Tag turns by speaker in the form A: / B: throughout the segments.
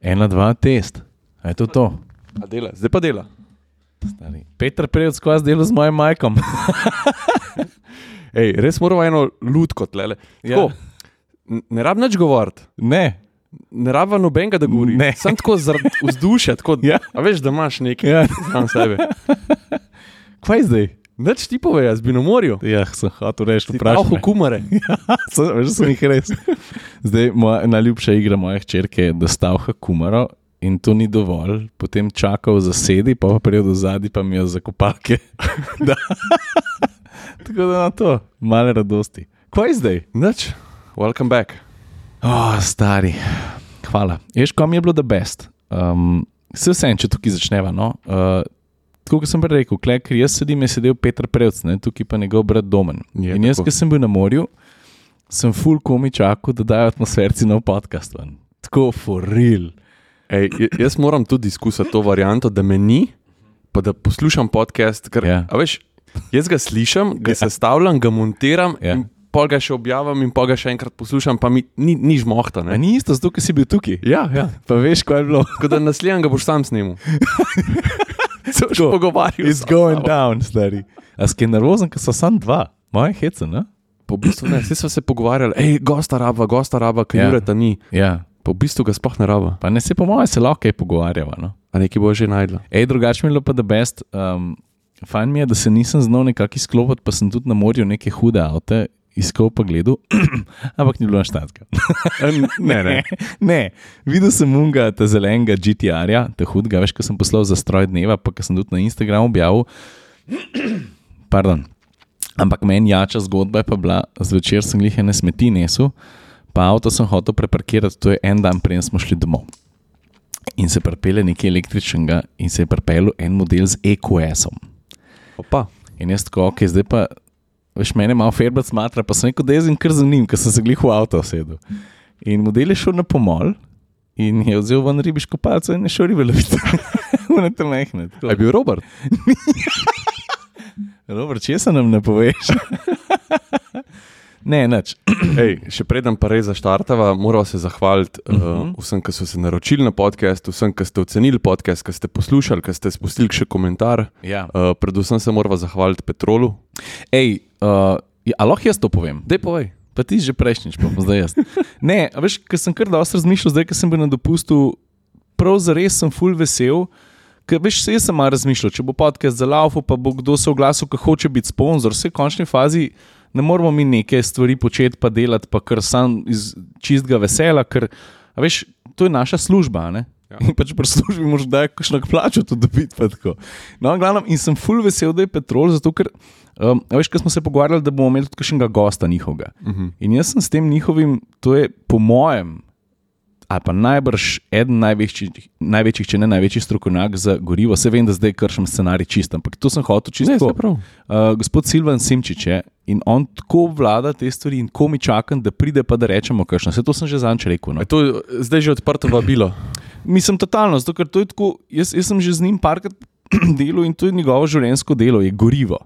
A: Ena, dva, test. A je to to?
B: A dela, zdaj pa dela.
A: Stari. Peter Prejc skozi delo z mojim majkom.
B: Ej, res moramo eno lutko tlele. Tako, ja. Ne rabim nič govoriti,
A: ne,
B: ne rabim nobenega, da govori.
A: Ne.
B: Sem tako zaradi vzdušja, tako
A: Ja.
B: ja. a veš, da imaš nekaj
A: ja.
B: sam sebe.
A: kaj zdaj?
B: Več ti pove, jaz bi na morju.
A: Ja, sem hotel reči,
B: Prav,
A: vprašaj. me. Ja,
B: hukumare.
A: Sem- Veš, da sem jih res. Zdaj, moja najljubša igra moje hčerke je, da stavka kumaro in to ni dovolj. Potem čakal za sedi, pa pa prijel do zadnji, pa mi jo zakopake. Da. Tako da na to, malo radosti. Kaj zdaj?
B: Nič, welcome back.
A: Oh, stari, hvala. Ješ, kam je bilo da best? Um, se vsem, če tukaj začneva. No? Uh, tako kot sem prej rekel, klej, ker jaz sedim, je sedel Petr Prevc, ne? tukaj pa njegov brat Domen.
B: Je
A: In jaz,
B: tako.
A: ki sem bil na morju, sem full komi čakal, da dajo atmosferci nov podcast ven. Tako for real.
B: Ej, j- jaz moram tudi izkusiti to varianto, da me ni, pa da poslušam podcast. Ker,
A: Ja.
B: yeah. A veš, jaz ga slišim,
A: Ja.
B: ga yeah. sestavljam, ga montiram,
A: Ja.
B: yeah. in pol ga še objavim, in pol ga še enkrat poslušam, pa mi ni, ni žmohta.
A: A
B: Ne?
A: ni isto, zato ker si bil tukaj.
B: Ja, ja.
A: Pa veš, kaj je bilo.
B: Tako da naslednjega boš sam snimil. Se boš
A: Tako.
B: pogovarjal.
A: It's
B: sam s
A: going
B: sabo.
A: down, stari. A si je nervozen, ker so sam dva, moje hece, ne?
B: Pa v bistvu ne, vsi smo se pogovarjali, hej, gosta raba, gosta raba, ki
A: Ja.
B: yeah. jureta ni.
A: Ja.
B: Pa v bistvu ga sploh ne raba.
A: Pa ne se po mojem, se lahko kaj pogovarjava. No?
B: A neki bo že najdla.
A: Ej, drugače mi je bilo pa da best. Um, Fajn mi je, da se nisem znal nekako izklopiti, pa sem tudi na morju neke hude avto iskal pa gledal, ampak ni bilo na štatska.
B: Ne, ne.
A: ne. Videl sem unga, ta zelenega GTR-ja, ta hudega, veš, ko sem poslal za stroj dneva, pa ko sem tudi na Instagramu objavil. Pardon. Ampak meni jača zgodba je pa bila, zvečer sem jih ene smeti nesel, pa avto sem hotel preparkirati, to je en dan, preden smo šli domov. In se pripelje nekaj električnega, in se je pripeljal en model z EQS-om.
B: Opa.
A: In jaz tako, ok, zdaj pa, veš, mene malo ferbec smatra, pa sem rekel, da jezim kar za njim, ker sem se glih v avto sedel. In model je šel na pomol in je vzel ven ribiško palco in je šel ribe loviti. Unete mehne.
B: A je bil Robert?
A: Robert, če se nam ne poveš? ne, nič.
B: Ej, še preden pa res zaštartava, moramo se zahvaliti uh -huh. uh, vsem, ki so se naročili na podcast, vsem, ki ste ocenili podcast, ki ste poslušali, ki ste spustili še komentar.
A: Ja.
B: Uh, predvsem se moramo zahvaliti Petrolu.
A: Ej, uh, ja, a lahko jaz to povem?
B: Dej povej.
A: Pa ti že prejšnjič, pa bom zdaj jaz. Ne, a veš, ker sem kar dosti razmišljal, zdaj, ker sem bil na dopustu, prav zares sem full vesel. Ker veš, vse sem malo razmišljal, če bo podcast za laufu, pa bo kdo se oglasil, ki hoče biti sponzor, vse v končni fazi ne moramo mi neke stvari početi, pa delati, pa kar sam iz čistega vesela, ker a veš, to je naša služba. a Ne? Ja.
B: Ja.
A: In pač pri službi moraš da kakšno plačo tudi dobiti. pa tako. No, v glavnem, in sem full vesel, da je Petrol, zato ker um, a veš, ker smo se pogovarjali, da bomo imeli tudi kakšnega gosta njihovega. Uh
B: Mhm.
A: -huh. In jaz sem s tem njihovim, to je po mojem, ali pa najbrž eden največjih, največjih če ne največji strokovnjak za gorivo. Se vem, da zdaj kršim scenarij čist, ampak to sem hotel čisto.
B: Ne, saj
A: tako.
B: prav.
A: Uh, gospod Silvan Simčič je in on tako vlada te stvari, in ko mi čakam, da pride, pa da rečemo, kakšno. Vse to sem že zanč rekel. No.
B: A je to je zdaj že odprto vabilo.
A: Mislim, totalno, zato ker to je tako. Jaz, jaz sem že z njim parkrat delal in to je njegovo življenjsko delo, je gorivo.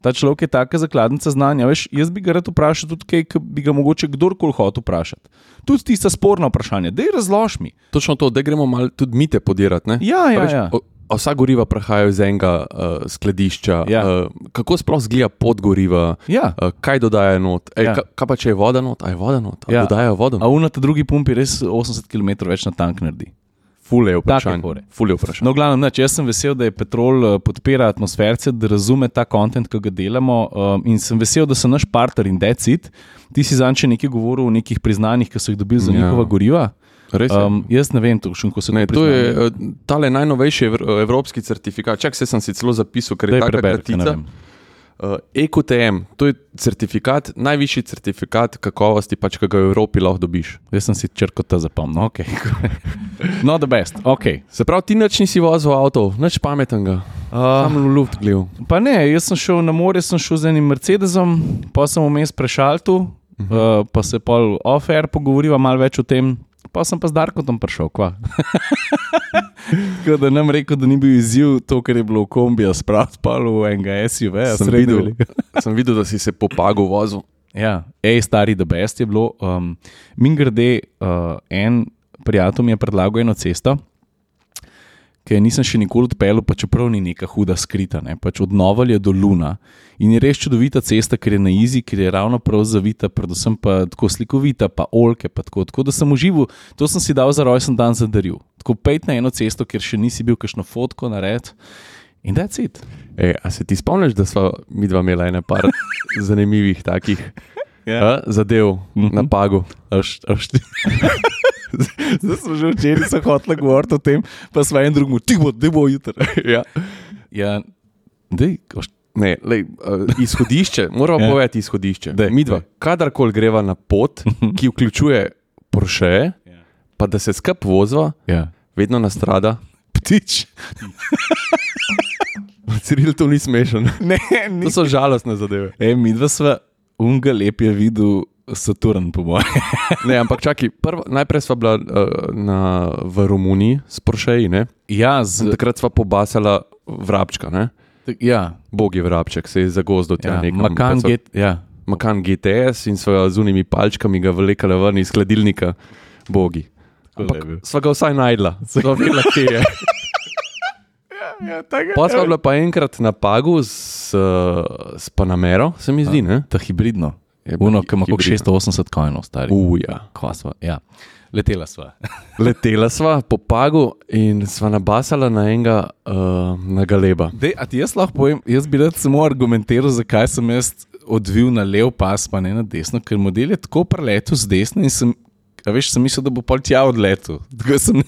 A: Ta človek je taka zakladnica znanja. Veš, jaz bi ga rad vprašal tudi kaj, ki bi ga mogoče kdorkoli hotel vprašati. Tudi tista sporna vprašanja, da je razlož mi.
B: Točno to, da gremo malo tudi mi te podirati. ne?
A: Ja,
B: A
A: ja,
B: veš,
A: ja.
B: o- a Vsa goriva prihajajo iz enega uh, skladišča.
A: Ja.
B: Uh, kako sploh zgleda pod goriva,
A: Ja.
B: uh, kaj dodaja not? Ej,
A: Ja.
B: ja. ka, kaj pa če je voda not? A je voda not? A
A: Ja.
B: ja. Dodajajo vodo?
A: A unat drugi pumpi res 80 km več na tank naredi.
B: Fule
A: Take
B: je vprašanje.
A: fore.
B: Fule je vprašanje.
A: No, v glavnem, nač, jaz sem vesel, da je Petrol eh, podpira atmosferce, da razume ta kontent, ki ga delamo um, in sem vesel, da so naš partner in decid. Ti si zanče nekaj govoril o nekih priznanjih, ki so jih dobili za
B: Ja.
A: njihova goriva.
B: Res je.
A: Um, jaz ne vem, točno ko se
B: Ne, to
A: priznanje.
B: je eh, tale najnovejši ev evropski certifikat. Čak se sem si celo zapisal, ker
A: Daj
B: je tako
A: preberi, ker ne
B: kratica.
A: vem.
B: Uh, EQTM, to je certifikat, najvišji certifikat kakovosti, pač, ki ga v Evropi lahko dobiš.
A: Jaz sem si črko ta zapomnil. Okay. no, the best. Okay.
B: Se pravi, ti nič nisi vozil avto, nič pametnega,
A: Uh,
B: tam v luft gledal.
A: pa ne, jaz sem šel na morje, sem šel z enim Mercedesom, pa sem vmes prešal tu,
B: Mhm.
A: uh, pa se pol off-air pogovoriva malo več o tem. Pa sem pa z Darkom prišel, kva. Tako da nam rekel, da ni bil izziv to, kar je bilo v kombiju, spraviti pa v enega SUV. -ja,
B: sem,
A: sredi
B: videl,
A: velikega.
B: sem videl, da si se popagal vozil.
A: Ja, ej, stari, da best je bilo. Um, Min grede, uh, en prijatelj mi je predlagal eno cesto, ki je nisem še nikoli odpeljal, pa čeprav ni neka huda skrita, ne? pač od Novalja do Luna. In je res čudovita cesta, ker je na izi, ker je ravno prav zavita, predvsem pa tako slikovita, pa olke, pa tako. Tako da sem užival, to sem si dal za rojsten dan za daril. Tako pejt na eno cesto, kjer še nisi bil kakšno fotko nared. In da je cit.
B: Ej, a se ti spomniš, da smo mi dva imela ena par zanimivih takih
A: Ja.
B: a, zadev mm -hmm. na pagu?
A: Zdaj smo že včeraj so hoteli govoriti o tem, pa smo en drugemu, ti bo, ti bo jutri.
B: ja.
A: Ja, dej, a boš-
B: Ne, lej, uh, izhodišče, moramo
A: Ja.
B: ja. povedati izhodišče.
A: Daj,
B: Mi dva,
A: daj. Mhm.
B: kadarkoli greva na pot, ki vključuje Porsche,
A: Ja.
B: pa da se skup vozva,
A: ja.
B: vedno nastrada.
A: ptič.
B: Ciril, to ni smešen.
A: Ne, ni.
B: To so žalostne zadeve.
A: E, mi dva sva, unga lep je videl Saturn, po mojem.
B: Ne, ampak čakaj, prvo, najprej sva bila uh, na, v Romuniji s Porscheji, ne?
A: Ja,
B: In
A: z,
B: takrat sva pobasala vrabčka, ne?
A: ja,
B: Bog je vrabček, se je zagozdil tja
A: ja,
B: nekam.
A: Makan
B: Pa so-
A: get, ja.
B: Makan GTS in sva z unimi palčkami ga vlekala ven iz hladilnika, bogi.
A: je bil.
B: Ampak sva ga vsaj najdla, sva vedela, kje je.
A: Ja, tako
B: Pa sva bila pa enkrat na pagu s, eh, s Panamero, se mi zdi, ne?
A: Ta hibridno.
B: Je pa
A: Uno,
B: hi-
A: ki ima okrog
B: hibridno.
A: 680 kojnov, stari.
B: Uja.
A: Kva sva, ja. Letela sva.
B: Letela sva po pagu in sva nabasala na enega, uh, na galeba.
A: Dej, a ti jaz lahko povem, jaz bi rad samo argumentiral, zakaj sem jaz odvil na lev pas, pa ne na desno, ker model je tako preletel z desne in sem, a veš, sem mislil, da bo pol tja odletel. Tako sem,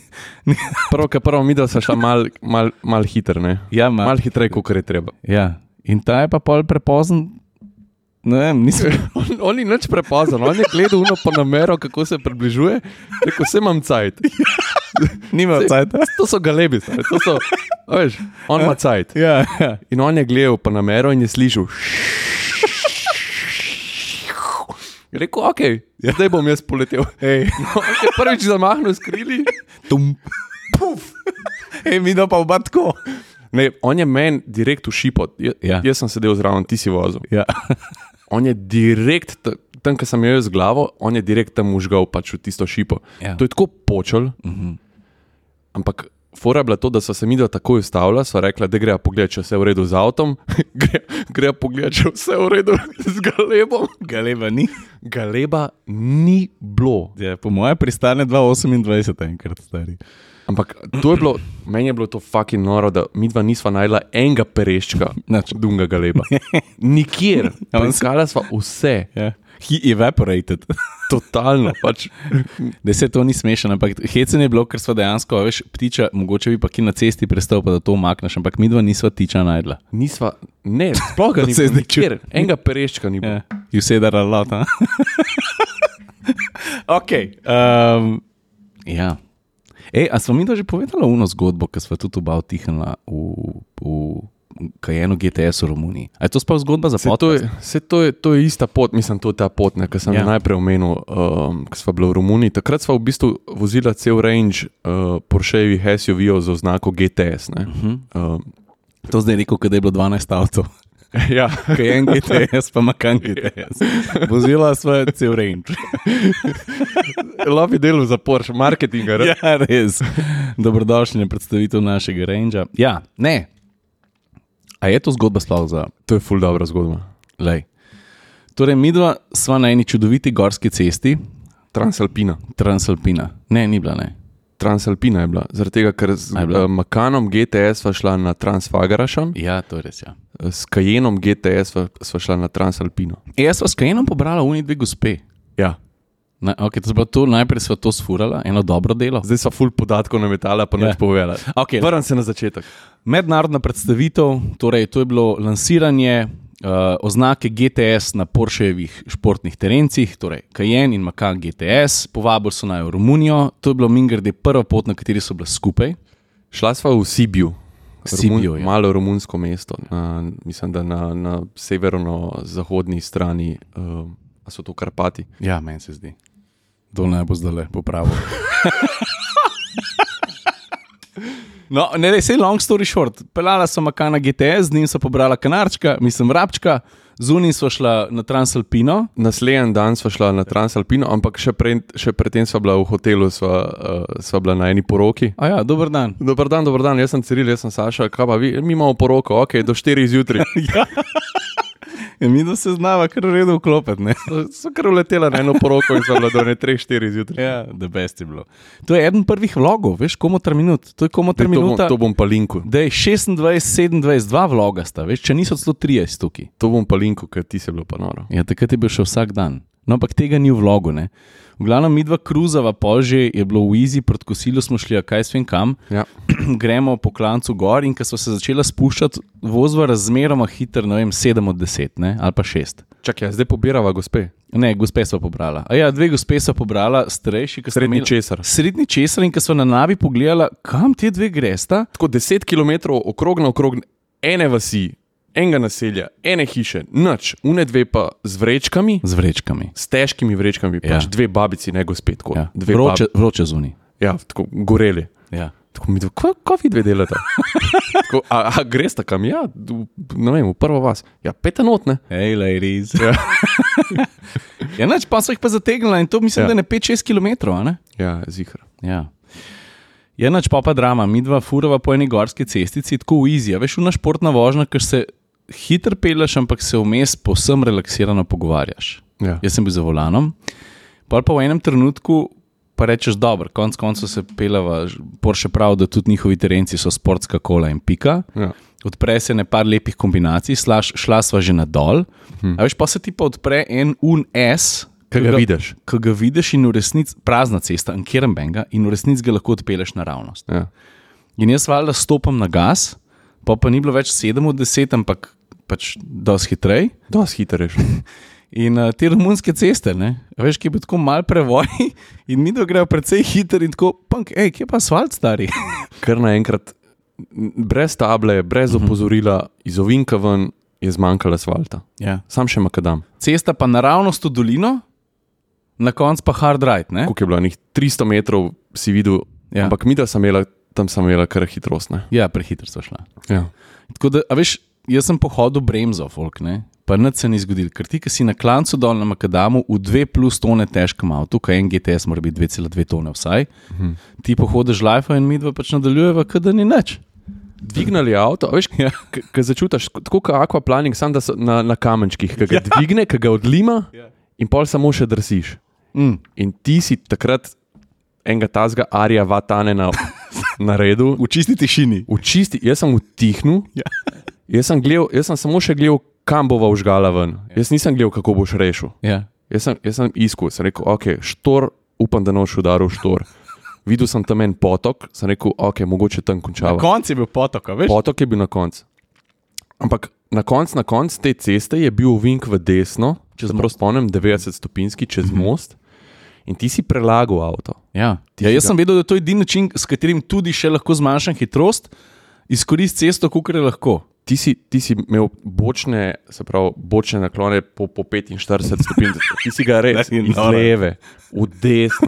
B: Prvo, kar prvo mi da se šla malo mal, mal hitro, ne?
A: ja, ma,
B: Mal hitreje, kot je treba.
A: ja, in ta je pa pol prepozen. Ne vem, nisem.
B: On, on ni nič prepozen, on je gledal uno Panamero, kako se približuje, rekel, vse imam cajt.
A: Nima cajt.
B: To so galebi, stari, to so, a veš, on ima cajt.
A: Ja, ja.
B: In on je gledal pa na mero in je slišal. Je rekel, ok, ja. zdaj bom jaz poletel.
A: Ej,
B: No, on je prvič zamahnil s krili.
A: tum. Puf. Ej, mi da pa oba tako.
B: Ne, on je meni direkt v šipo. Je,
A: Ja.
B: ja. Jaz sem sedel zraven, ti si vozil.
A: Ja.
B: On je direkt, t- tam, kjer sem jo jaz z glavo, on je direkt tam užgal pač v tisto šipo.
A: Ja.
B: To je tako počel. Uh -huh. Ampak fora je bila to, da so se mi dva takoj ustavila, so rekla, da greja pogledat, če je vse v redu z avtom, gre- greja pogledat, če je vse v redu z galebom.
A: Galeba ni.
B: Galeba ni bilo.
A: Ja, po mojem pristane 2,28 enkrat, stari.
B: Ampak to je bilo, meni je bilo to fucking noro, da mi dva nisva najdla enega pereščka,
A: Nič.
B: dunga galeba. Nikjer.
A: Ja, on se-
B: Iskala sva vse,
A: Ja. He evaporated.
B: totalno. Pač.
A: Da se to ni smešno, ampak hecen je bilo, ker smo dejansko, a veš, ptiča, mogoče bi pa ki na cesti prestal, pa da to umakneš, ampak mi dva nisva tiča najdla.
B: Nisva, ne, sploh ga
A: To
B: ni
A: se je
B: bilo.
A: zdaj čudno.
B: Nikjer. Enega pereščka ni bilo.
A: Ja, you say that a lot, huh? ok. Um, ja. Ej, a smo mi to že povedali uno zgodbo, ki smo tudi oba utihnila v, v Kajenu GTS v Romuniji? A je to sploh zgodba za
B: Se to,
A: foto?
B: je, se to, je, to je ista pot, mislim, to je ta pot, ne, ki sem
A: Ja.
B: ja. najprej omenil, um, ko smo bili v Romuniji. Takrat smo v bistvu vozili cel range uh, Porschevih SUV-ov z oznako GTS. Uh -huh. um,
A: To zdaj je rekel, da je bilo 12 avtov.
B: ja.
A: Kajen GTS, pa Makan GTS. Vozila sva cel range.
B: Lovi delo za Porsche, marketinga. Ja.
A: Ja, res. Dobrodošli na predstavitev našega Rangera. Ja, ne. A je to zgodba sploh za
B: To je ful dobra zgodba.
A: lej? Torej, mi dva sva na eni čudoviti gorski cesti,
B: Transalpina.
A: Transalpina. Ne, ni bila, ne.
B: Transalpina je bila, zaradi tega, ker z
A: A je bila?
B: uh, Makanom GTS sva šla na Transfagarašam,
A: Ja, to je res. Ja.
B: s Kajenom GTS sva, sva šla na Transalpino.
A: E, jaz sva s Kajenom pobrala uni dve gospe.
B: Ja.
A: Na, okay, to se pravi, to, najprej sva to sfurala, eno dobro delo.
B: Zdaj so ful podatkov nametala, pa
A: Ja.
B: nič povedala.
A: Okay,
B: Vrnem se na začetek.
A: Mednarodna predstavitev, torej to je bilo lansiranje uh, oznake GTS na Porševih športnih terencih, torej Kajen in Makan GTS, povabili so naj v Romunijo, to je bilo Mingrde prva pot, na kateri so bili skupaj.
B: Šla sva v Sibiu.
A: Sibiu, ja.
B: malo romunsko mesto, na, mislim, da na, na severno-zahodni strani, uh, so to Karpati.
A: Ja, meni se zdi. Dol naj bo zdaj le popravil. No, ne, ne, sej long story short. Pelala sem Makana GTS, z njim sem pobrala kanarčka, mislim, rabčka, zunaj smo šla na Transalpino.
B: Naslednji dan sva šla na Transalpino, ampak še, pre, še predtem sva bila v hotelu, sva, uh, sva bila na eni poroki.
A: A ja, dober dan.
B: Dober dan, dober dan, jaz sem Ciril, jaz sem Saša, kaj pa vi, mi imamo poroko, ok, do 4 zjutraj.
A: Ja, mi da se znava kar v redu vklopiti. ne.
B: So- So kar uletela na eno poroko in sva bila do ne 3-4 zjutraj.
A: Ja, da best je bilo. To je eden prvih vlogov, veš, komu tri minut. To je komu
B: Daj,
A: tri
B: To bom,
A: minuta.
B: to bom pa linku,
A: Da je 26, 27, 2 vloga sta, veš, če niso celo 30 tukaj.
B: to bom pa linku, ker ti se bilo pa noro.
A: Ja, takrat je bil še vsak dan. No, ampak tega ni v vlogu. Ne? V glavnem, mi dva kruzava pože, je bilo v Easy, pred kosilom smo šli, a kaj svem kam.
B: Ja.
A: Gremo po klancu gor in ko smo se začeli spuščati, vozva razmeroma hiter, ne vem, 7 od 10 ne? ali pa 6.
B: Čakaj, ja, zdaj pobirava, gospe.
A: Ne, gospe so pobrala. A ja, dve gospe so pobrala, starejši, ki so
B: Srednji česar.
A: Srednji česar in ko so na navi pogledala, kam te dve gresta,
B: Tako 10 km okrog na okrog ene vasi, enega naselja, ene hiše, noč, une dve pa z vrečkami.
A: z vrečkami.
B: s težkimi vrečkami,
A: Ja.
B: ja. pač dve babici, ne gospe, tako.
A: Ja.
B: Dve
A: Vroče, vroče zunaj.
B: Babi, ja, tako goreli.
A: Ja.
B: Tako mi je, kako vi dve delate? tako, a, a greš tam, ja, v- ne vem, v prvo vas. Ja, pete notne.
A: Hej, ladies. Ja, ja noč, pa so jih pa zategnila in to mislim, ja.
B: Ja.
A: da ne 5-6 km. a ne?
B: Ja, zihar.
A: Ja. Je noč pa pa drama, mi dva furava po eni gorski cestici, tako v Iziji. Veš, una športna vožnja, ker se hitro peleš, ampak se vmes posem relaksirano pogovarjaš.
B: Ja.
A: Jaz sem bil za volanom, pa pa v enem trenutku pa rečeš, dobro, konc koncev se pelava, Porsche pravi, da tudi njihovi terenci so športska kola in pika.
B: Ja.
A: Odpre se ne par lepih kombinacij, slaš, šla sva že na dol. Hmm. Veš, pa se ti pa odpre en UNS,
B: Hm. Ke ga vidiš.
A: Ki ga vidiš in v resnici prazna cesta, ankiram benga, in v resnici ga lahko odpeleš naravnost.
B: Ja.
A: In jaz valjda stopim na gas, pa pa ni bilo več 7 od 10, ampak pač dosti hitrej.
B: Dosti hiter je.
A: In uh, te romunske ceste, ne, a veš, ki je bil tako mal prevoj, in mi do grejo precej hitro, in tako, punk, hej, kje pa asfalt, stari.
B: Ker naenkrat, n- brez table, brez opozorila, iz ovinka ven je zmanjkalo asfalta.
A: Ja.
B: Sam še makadam.
A: Cesta pa naravnost v dolino, na koncu pa hard right. Ne?
B: Koliko je bilo, njih 300 metrov si videl,
A: Ja.
B: ja. ampak mi da sem imela, tam sem imela kar hitrost. Ne?
A: Ja, prehitro so šla.
B: Ja.
A: Tako da, a veš, jaz sem pohodil bremzo, folk, ne? pa nič se ni zgodil, ker ti, ki si na klancu dol na Makadamu v 2 plus tone težkem avtu, kaj en GTS mora biti 2,2 tone vsaj, mhm. ti pohodiš life in mi dva pač nadaljujeva, kot da ni nič.
B: dvignili avto, a veš, ja. ki začutiš, tako kot akvaplaning, samo da so na, na kamenčkih, ki ga ja. dvigne, ki ga odlima ja. in pol samo še drsiš.
A: Mm.
B: In ti si takrat enega tazga arija vatane na, na redu,
A: V čisti tišini.
B: v čisti, jaz sem utihnil,
A: Ja.
B: jaz sem, gledal, jaz sem samo še gledal, kam bova užgala ven. Jaz nisem gledal, kako boš rešil.
A: Ja.
B: Jaz sem, jaz sem iskal, sem rekel, ok, štor, upam, da noš udaril štor. Videl sem tam en potok, sem rekel, ok, mogoče tam končava.
A: Konc je bil potok, a veš?
B: Potok je bil na koncu. Ampak na koncu na konc te ceste je bil vink v desno, če se prav spomnim, 90-stopinski čez most in ti si prelagal avto.
A: Ja. Ja, jaz sem vedel, da je to edini način, s katerim tudi še lahko zmanjšam hitrost, izkoristim cesto, kar je lahko.
B: Ti si, ti si imel bočne, se pravi, bočne naklone po, po 45 stopinj, ti si ga res
A: Da, in
B: iz
A: nora.
B: leve, v desno,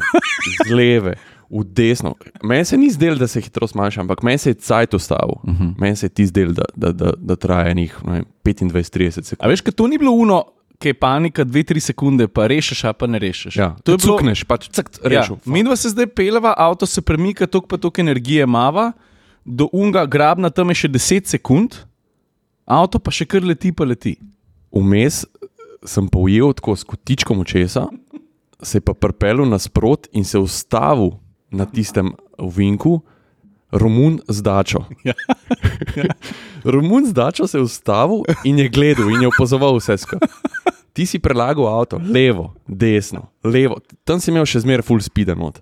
B: iz leve, v desno. Meni se ni zdelo, da se hitrost manjša, ampak meni se je cajt ustavil. Uh
A: Mhm.
B: -huh. Meni se je ti zdelo, da, da, da, da traja enih 25-30 sekund.
A: A veš, ker to ni bilo uno, ki je panika 2-3 sekunde, pa rešiš, a pa ne rešiš.
B: Ja,
A: to je bilo.
B: cukneš, pač cakt,
A: Ja,
B: rešil.
A: mi dva se zdaj peleva, avto se premika, tok pa tok energije mava, do unga grabna tam je še 10 sekund, avto pa še kar leti, pa leti.
B: Vmes sem pa ujel tako s kotičkom očesa, se je pa prpelo nasprot in se ustavil na tistem vinku, Romun z dačo.
A: Ja.
B: Romun z dačo se je ustavil in je gledal in je opazoval vse skupaj. Ti si prelagal avto, levo, desno, levo, tam si imel še zmeraj full speed not.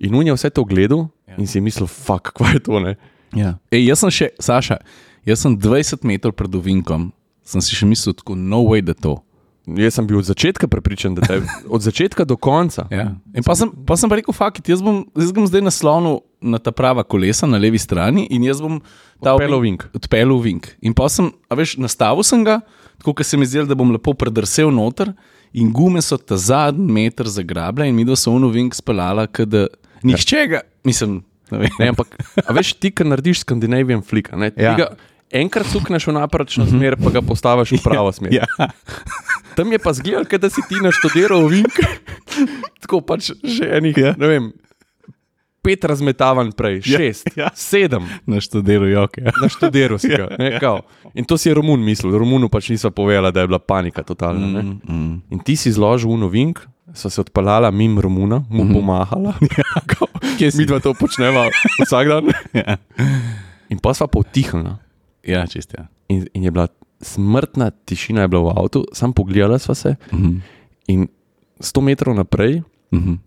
B: In on je vse to gledal in si je mislil, fuck, kva je to ne.
A: Ja. Ej, jaz sem še, Saša, jaz sem 20 metrov pred ovinkom, sem si še mislil, tako no way da to.
B: Jaz sem bil od začetka prepričan, da te od začetka do konca.
A: Ja. In pa sem, pa sem pa rekel, fakt, jaz bom, jaz bom zdaj naslonil na ta prava kolesa na levi strani in jaz bom ta
B: Odpeljal vink.
A: Odpeljal vink. In pa sem, a veš, nastavil sem ga, tako kot se mi zdelo, da bom lepo predrsel noter in gume so ta zadnji meter zagrabile in mi do so unu vink spelala, ker da nihče ga, mislim, Ne vem.
B: Ne, ampak a veš, ti, ki narediš Scandinavian flik, ne,
A: Ja. Mhm.
B: ja. ga, enkrat sukneš v napačno smer, pa ga postaviš v pravo smer.
A: Ja.
B: Tam je pa zgledal, kot da si ti naštudiral vink. Tako pač že enih,
A: Ja.
B: ja. ne vem, pet razmetavanj prej,
A: Ja, ja.
B: šest, ja, ja. sedem.
A: Na študiru joke. Ja.
B: Naštudiral si ga. Ne, kao. In to si je Romun mislil. Romunu pač niso povedali, da je bila panika totalna. ne.
A: Mm,
B: In ti si zložil unovink, so se odpeljala mim Romuna, mu pomahala. Kao,
A: Mhm. Ja, Kje si?
B: Mi dva to počneva vsak dan.
A: Ja.
B: In pa sva potihnila.
A: ja, čist. Ja.
B: In, in je bila smrtna tišina, je bila v avtu, sam pogledala sva se.
A: Mhm.
B: In 100 metrov naprej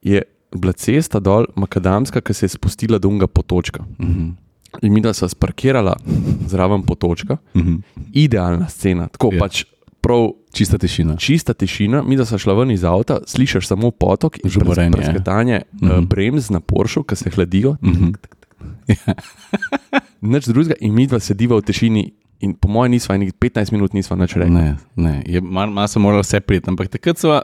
B: je bila cesta dol, makadamska, ki se je spustila do unga potočka.
A: Mhm.
B: In mi da sva sparkirala zraven potočka, idealna scena, tako
A: Ja.
B: ja. pač prav
A: Mhm. Čista tišina.
B: čista tišina, mi da sva šla ven iz avta, slišiš samo potok in
A: Žuborenje, ja.
B: Prsketanje uh -huh. bremz na Poršu, ki se hladijo. Ja. Nič drugega, in mi dva sediva v tišini. In po mojem, nisva enih 15 minut, nisva nič rekla.
A: Ne, ne. Je, mal, mal sem moral vse priti, ampak takrat sva,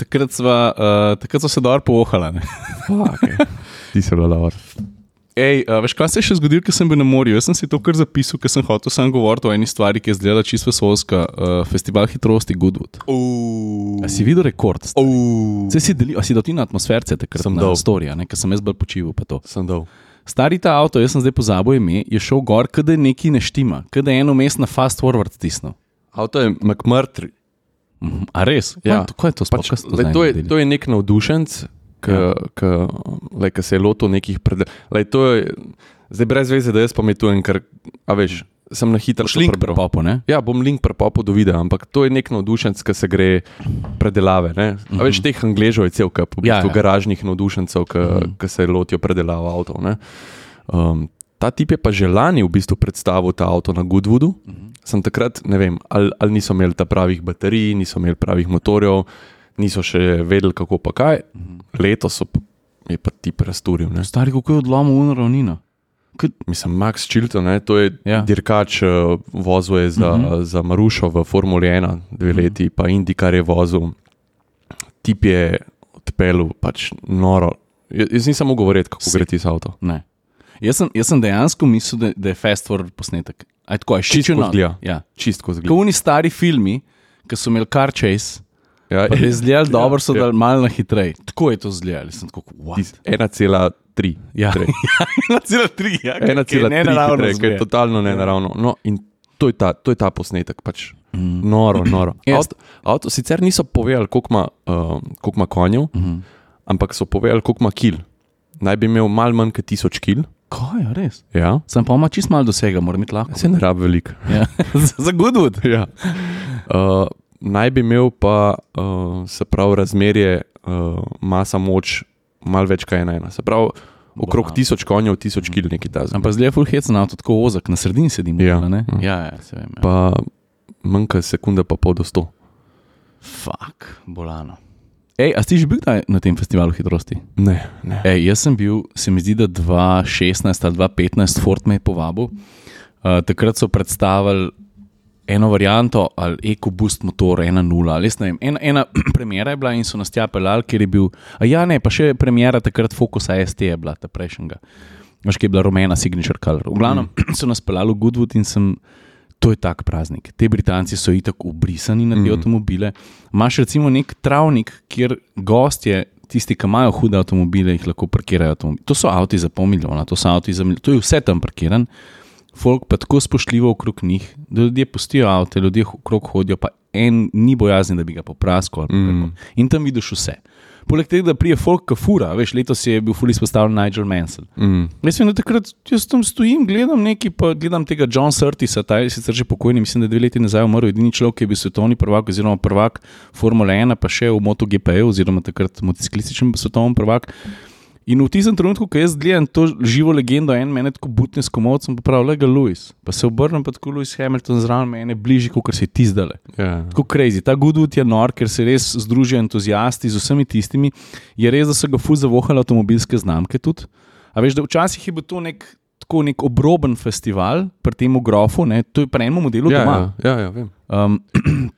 A: takrat sva, uh, takrat sva se dobro poohala. ne.
B: Fuck, ej. Ti si bila lavar.
A: Ej, uh, veš, kaj se je še zgodilo, ker sem bil na morju? Jaz sem si to kar zapisal, ker sem hotel sam govoriti o eni stvari, ki je zgledala čisto vesolska. Uh, festival hitrosti Goodwood. A si videl rekord? Se si delil, a si dal ti na atmosferce takrat?
B: Sem
A: na
B: dal.
A: storija, ne, ker sem jaz bolj počival pa to.
B: Sem dol.
A: Stari ta avto, jaz sem zdaj pozabil ime, je šel gor, kaj da neki ne štima, kaj da je eno mest na fast forward stisnil.
B: Avto je McMurtry.
A: A res?
B: Ja.
A: Kaj, kaj je to sploh?
B: Pač,
A: Kaj so to
B: lej,
A: zdaj
B: to, je,
A: naredili?
B: to je nek navdušenc, ki ja. se je lotil nekih predelov. Zdaj brez veze, da jaz pametujem, ker a veš, sem na hitro
A: Šlink prepopo, ne?
B: Ja, bom link prepopil do videa, ampak to je nek navdušenc, ki se gre predelave. Ne? A veš, teh angležev je cel kup, v
A: Ja, Mhm. ja. Mhm.
B: bistvu ja, ja. garažnih navdušencev, ki mm. se lotijo predelave avtov. ne. Um, ta tip je pa že lani v bistvu predstavil ta avto na Goodwoodu. Mm
A: Mhm.
B: -hmm. Sem takrat, ne vem, ali, ali niso imeli ta pravih baterij, niso imeli pravih motorjev, niso še vedeli, kako pa kaj. Mm
A: Mhm.
B: -hmm. Letos so pa- je pa ti presturil. Ne?
A: Stari, kako je odlomil unaravnino.
B: Mislim, Max Chilton, ne, to je
A: Ja. Mhm.
B: ja. dirkač, eh, vozil je za, uh -huh. za Marušo v Formuli 1, dve leti, uh -huh. pa Indikar je vozil. Tip je odpeljal, pač noro. Jaz jaz nisem mogel govoriti, kako
A: Se-
B: gre ti z avto.
A: Ne. Jaz sem, jaz sem dejansko mislil, da, da je fast forward posnetek. Aj tako, je
B: Čisto
A: ščitno.
B: zgleda.
A: Ja.
B: Čistko
A: Kot
B: zgleda.
A: oni stari filmi, ki so imeli car chase,
B: Ja,
A: pa da je zgledal dobro, so
B: ja.
A: dal malo na hitreje. Tako je to zgledal. Sem tako, what?
B: 1,3.
A: Ja,
B: Tre.
A: 1,3, ja, ker- ker je
B: 1,3,
A: nenaravno
B: hitre, ker je
A: zgleda.
B: totalno nenaravno. No, in to je ta, to je ta posnetek. Pač. Mm. Noro, noro.
A: Jaz-
B: Avto, avto sicer niso povedali, koliko ima, uh, koliko ima konjev, mm. ampak so povedali, koliko ima kil. Naj bi imel malo manj kot tisoč kil.
A: Kaj je res?
B: Ja.
A: Sem pa ima čist malo dosega, moram biti lahko.
B: Se ne rabi veliko.
A: Ja. Za Goodwood.
B: Ja. Uh, naj bi imel pa uh, se pravi razmerje uh, masa moč malo več kot ena. ena. Se pravi, okrog
A: Wow.
B: tisoč konjev, tisoč kil nekaj ta znak.
A: Ampak zdaj je full hec na avto, tako ozek, na sredini sedim.
B: Ja.
A: ne? ja, ja, se vem. Ja.
B: Pa manj kot sekunda pa pol do sto.
A: Fak, bolano. Ej, a si že bil kdaj na tem festivalu hitrosti?
B: Ne, ne.
A: Ej, jaz sem bil, se mi zdi, da 2016 ali 2015, Fort me je povabil. Uh, takrat so predstavili eno varianto ali EcoBoost motor 1.0, ali jaz ne vem. Ena, ena premjera je bila in so nas tja pelali, ker je bil. A ja, ne, pa še premjera takrat Focus AST je bila, ta prejšnjega. Veš, ki je bila rumena, signature color. V glavnem so nas pelali v Goodwood in sem. To je tak praznik. Te Britanci so itak obrisani na te mm. avtomobile. Máš recimo nek travnik, kjer gostje, tisti, ki imajo hude avtomobile, jih lahko parkirajo. Avtomobil. To so avtomobili za pol milijona, to so avtomobili za milijon, to je vse tam parkiran. Folk pa tako spoštljivo okrog njih, da ljudje pustijo avto, ljudje h- okrog hodijo, pa en ni bojazen, da bi ga popraskal. Mm. In tam vidiš vse. Poleg tega, da prije folk kafura, veš, letos je bil fully izpostavljen Nigel Mansell. Mm. Jaz vem, da takrat jaz tam stojim, gledam nekaj, pa gledam tega Johna Surtisa, ta je sicer že pokojni, mislim, da je dve leti nazaj umrl, edini človek, ki je bil svetovni prvak, oziroma prvak Formule 1, pa še v MotoGP, oziroma takrat motociklističen svetovni prvak. In v tistem trenutku, ko jaz gledam to živo legendo, en meni tako butne s komovcem, pa pravi, le ga Louis. Pa se obrnem, pa tako Louis Hamilton zraven mene, bližje, kot si ti zdaj.
B: Ja.
A: Tako crazy. Ta Goodwood je nor, ker se res združijo entuzijasti z vsemi tistimi. Je res, da so ga fuz zavohali avtomobilske znamke tudi. A veš, da včasih je bil to nek tako nek obroben festival pri tem grofu, ne, to je pri enem modelu doma.
B: Ja, ja, ja, ja, vem.
A: Um,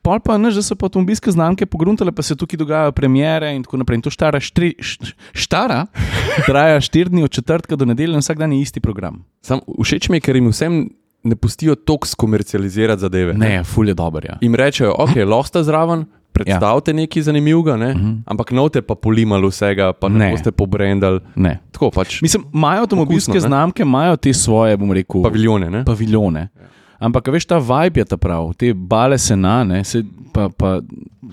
A: pol pa ne, že so pa avtomobilske znamke pogruntale, pa se tukaj dogajajo premjere in tako naprej. In to štara, štri, št, štara traja štiri dni od četrtka do nedelje in vsak dan je isti program.
B: Sam, všeč mi je, ker jim vsem ne pustijo toliko skomercializirati zadeve.
A: Ne, ful je dober. Ja.
B: Jim rečejo, ok, lahko ste zraven, predstavite ja. nekaj zanimivega, ne? uh -huh. ampak note pa polimali vsega, pa ne,
A: Ne.
B: ne. boste pobrendali.
A: Ne.
B: Tako pač.
A: Mislim, imajo avtomobilske
B: Okusno, ne?
A: Okusno, znamke, imajo te svoje, bom rekel,
B: Paviljone, ne?
A: paviljone. Ampak, a veš, ta vibe je ta prav, te bale se na, ne, se, pa, pa,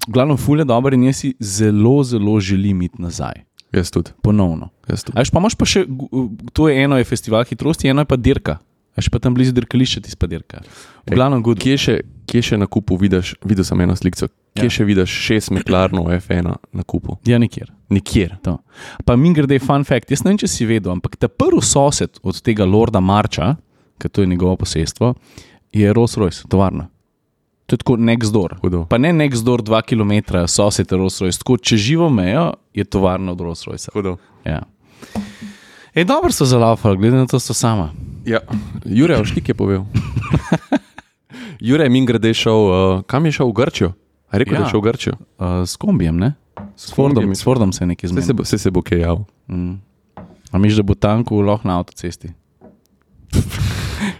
A: glavno, fulje dobro in jaz si zelo, zelo želim iti nazaj,
B: Jaz tudi.
A: ponovno.
B: Jaz tudi.
A: A veš, pa imaš pa še, gu- to je eno je festival hitrosti, eno je pa dirka. A še pa tam blizu dirkališča ti spadirka. V glavnem, good.
B: Kje še, kje še na kupu vidiš, videl sem eno sliko, kje
A: Ja.
B: ja. še vidiš šest meklarnov F1 na kupu?
A: Ja, nikjer.
B: Nikjer.
A: To. Pa mi grede, fun fact, jaz ne vem, če si vedel, ampak ta prvi sosed od tega lorda Marča, ki to je njegovo posestvo, je Rolls Royce, tovarna. To je tako next door.
B: Hudo.
A: Pa ne next door, dva km, sosed je Rolls Royce. Tako, če živo mejo, je tovarna od Rolls Royce.
B: Hudo.
A: Ja. Ej, dobro so zalaufali, glede na to so sama.
B: Ja. Jure, ošlik je povedal. Jure je min grede šel, uh, kam je šel v Grčijo? A je rekel, ja. da
A: Ja.
B: je šel v Grčijo.
A: Uh, s kombijem, ne? S Fordom,
B: kombijem.
A: s Fordom se je nekaj
B: Vse se,
A: zmenil.
B: bo- saj se bo kaj javil.
A: A miš, da bo tanko lahko na avtocesti.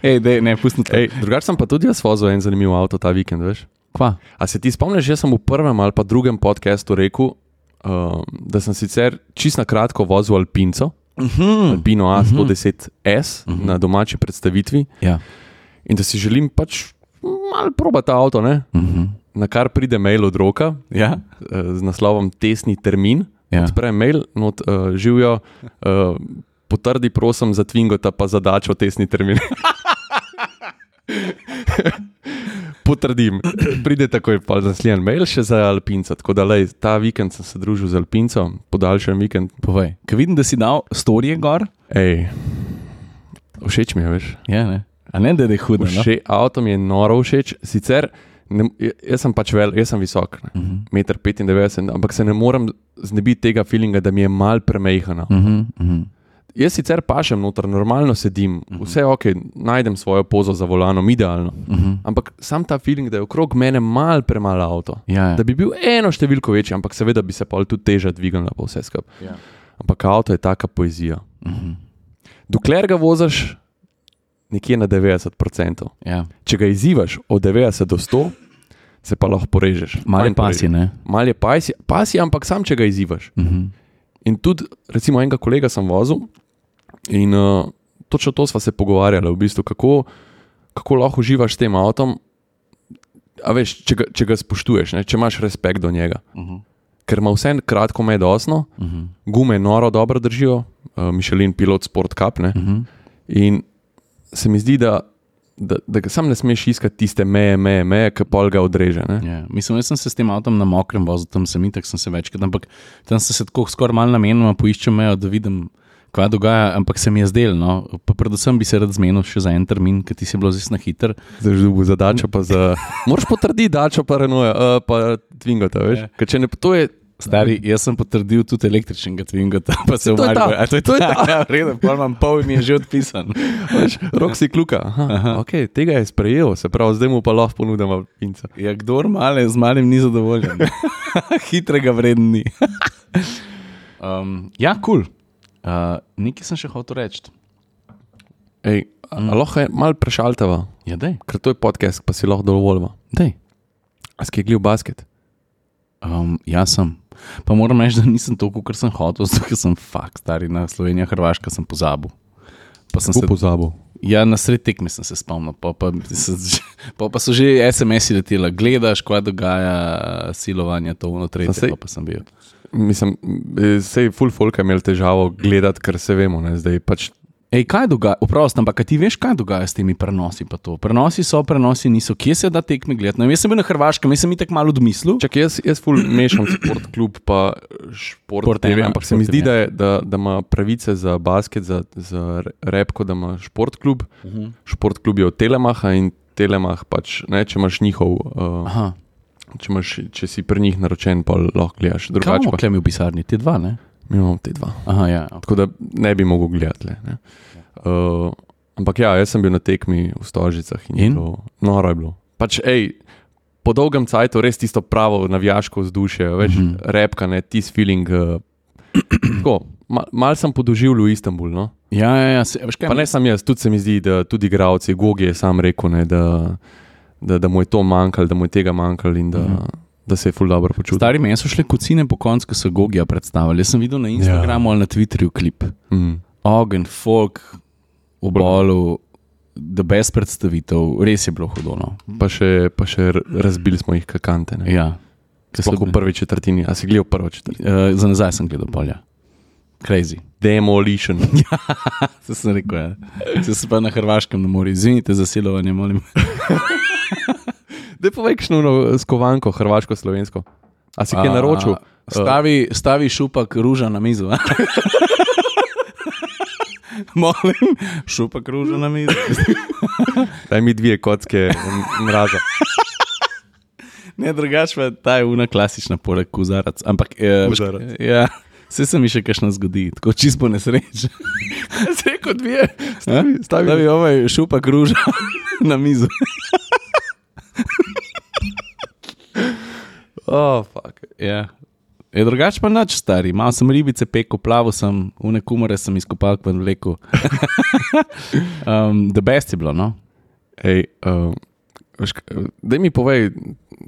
A: Ej, dej, ne, pusti to.
B: Ej, Drugače sem pa tudi jaz vozil en zanimiv avto ta vikend, veš?
A: Kva?
B: A se ti spomniš, jaz sem v prvem ali pa drugem podkastu rekel, um, da sem sicer čist na kratko vozil Alpinco, Alpino A110S na domači predstavitvi
A: Ja.
B: in da si želim pač malo proba ta avto, ne?
A: Mhm.
B: Na kar pride mail od roka
A: Ja?
B: eh, z naslovom Tesni termin,
A: Ja.
B: odpre mail, not uh, živijo, uh, potrdi prosim za Twingota, pa zadačo tesni termin. Potrdim, pride takoj pa naslednji mail še za Alpinca. Tako da, lej, ta vikend sem se družil z Alpincem, podaljšan vikend.
A: Povej. Ker vidim, da si dal storije gor.
B: Ej, všeč mi je, veš.
A: Ja, ne. A ne, da je hudo. No?
B: Še avto mi je noro všeč, sicer ne, j- jaz sem pač vel, jaz sem visok, ne,
A: Mhm.
B: meter uh -huh. 95, ampak se ne morem znebiti tega feelinga, da mi je mal premehano. Uh -huh.
A: Uh -huh, uh -huh.
B: Jaz sicer pašem noter, normalno sedim, uh
A: Mhm.
B: -huh. vse ok, najdem svojo pozo za volanom, idealno. Uh
A: Mhm.
B: -huh. Ampak sam ta feeling, da je okrog mene mal premalo avto.
A: Ja, ja.
B: Da bi bil eno številko večji, ampak seveda bi se pa tudi teža dvignila, pa vse skupaj.
A: Ja.
B: Ampak avto je taka poezija. Uh
A: Mhm.
B: -huh. Dokler ga voziš, nekje na 90%.
A: ja.
B: Če ga izzivaš od 90 do 100, se pa lahko porežeš.
A: Mali
B: Fajn torej.
A: pasi,
B: porežeš.
A: ne?
B: Malo je pasi, pasi, ampak sam, če ga izzivaš.
A: Uh -huh.
B: In tudi, recimo, enega kolega sem vozil in uh, točno to sva se pogovarjala, v bistvu, kako, kako lahko uživaš s tem avtom. A veš, če ga, če ga spoštuješ, ne? če imaš respekt do njega.
A: Uh -huh.
B: Ker ima vse kratko medosno,
A: Uh -huh.
B: gume noro dobro držijo, uh, Mišelin, pilot, sport kap. Ne?
A: Uh -huh.
B: In se mi zdi, da, da, da ga sam ne smeš iskati tiste meje, meje, meje ki pol ga odreže. Ne?
A: Ja, mislim, jaz sem se s tem avtom na mokrem vozil, tam sem itek, sem se večkrat, ampak tam sem se tako skoraj malo namenoma poiščel mejo, da vidim, kaj dogaja, ampak se mi je zdel. No. Pa predvsem bi se rad zmenil še za en termin, ker ti si bilo zisna hiter.
B: Za žubu, za dačo, pa za. Moraš potrditi dačo, pa renoje, uh, pa tvingota, veš.
A: Ja.
B: Ker če ne, to je.
A: Stari, jaz sem potrdil tudi električnega Twinga, pa se
B: Ja. to je ta.
A: umaril. To je
B: To je ta.
A: Ja, v redu, pol imam pol in mi je že odpisan.
B: Veš, rok si kluka. Aha, Aha. Okay, tega je sprejel, se pravi, zdaj mu pa lahko ponudim alpinca.
A: Ja, kdo male, z malim ni zadovoljen. Hitrega vreden ni. um, ja, kul. Cool. Uh, nekaj sem še hotel reči.
B: Ej, a- a lahko je mal prešaltava,
A: Ja, dej,
B: ker to je podcast, pa si lahko dovoljva.
A: dej.
B: A si glil basket?
A: Um, jaz sem. Pa moram reči, da nisem to, kar sem hotel, zato ker sem fakt star in na Slovenijo, Hrvaška sem pozabil. Pa sem se,
B: pozabil.
A: ja, na sred tekme sem se spomnil, pa, pa, se, pa, pa so že SMS-i letela, gledaš, kaj dogaja, silovanje, to ono, tretje,
B: Saj-
A: pa, pa sem bil.
B: Mislim, sej full folk je imel težavo gledati, ker se vemo, ne? zdaj pač
A: Ej, kaj dogaja, oprosti, ampak a ti veš, kaj dogaja s temi prenosi? pa to? Prenosi so, prenosi niso, kje se da tekme gledati. No, jaz sem bil na Hrvaškem, jaz sem jih tako malo odmislil.
B: Čak, jaz, jaz ful mešam šport klub, pa šport.
A: Šport
B: šport TV,
A: ena,
B: ampak se mi
A: šport TV,
B: zdi, da, je, da, da ima pravice za basket, za, za repko, da ima šport klub. Uh -huh. Šport klub je od Telemaha in Telemah pač, ne, če imaš njihov, uh,
A: Aha,
B: če, imaš, če si pri njih naročen, pa lahko gledaš.
A: kaj
B: Drugače
A: imamo
B: pa
A: klemi v pisarni, ti dva, ne?
B: mi imamo te dva.
A: Aha, ja. ok. Ja.
B: Tako da ne bi mogel gledati. Le, ne. uh, Ampak ja, jaz sem bil na tekmi v Stožicah in,
A: In?
B: in? Bilo, noro je bilo. Pač, ej, po dolgem cajtu res tisto pravo navijaško vzdušje, več mm
A: Mhm.
B: -hmm. repka, ne tisti feeling. Uh, tako, ma, mal sem podoživljal v Istanbulu. No?
A: Ja, ja, ja se, veš kaj?
B: Pa ne samo jaz, tudi se mi zdi, da tudi igravci, Gogi je sam rekel, ne, da, da, da mu je to manjkalo, da mu je tega manjkalo in da,
A: Mhm.
B: mm. da se je ful dobro počutil.
A: Stari meni so šle kocine po koncu, ko so Gogija predstavili. Jaz sem videl na Instagramu ja. ali na Twitterju klip.
B: Mm.
A: Ogen, folk, v bolu, da brez predstavitev, res je bilo hudo. No.
B: Pa še, pa še r- razbili smo jih kakante. ne.
A: Ja, Ke so
B: Sploh
A: bili-
B: v prvi četrtini, a si gledal prvo četrtino.
A: Eh, za nazaj sem gledal polja. Crazy.
B: Demolition.
A: To sem rekel, ja. Se, se pa na Hrvaškem ne more, izvinite za silovanje, molim.
B: Da povej, kakšno ono skovanko, hrvaško, slovensko. A si kaj naročil?
A: A, Stavi, stavi šupak ruža na mizo. a? molim, šupak ruža na mizo.
B: Daj mi dve kocke m- mraza.
A: Ne, drugače pa ta je una klasična, poleg kuzarac. Ampak, eh, veš-
B: Kozarac.
A: ja, vse se mi še kakšno zgodi, tako čisto po nesreči.
B: Se kot dve,
A: Stavi,
B: stavi-
A: stavi ovaj šupak ruža na mizo.
B: Oh, fuck.
A: Ja. Je drugače pa nič stari, malo sem ribice pekel, plaval sem, une kumare sem izkopal, pa vlekel. Um, The best je bilo, no?
B: Ej, uh, veš, k- daj mi povej,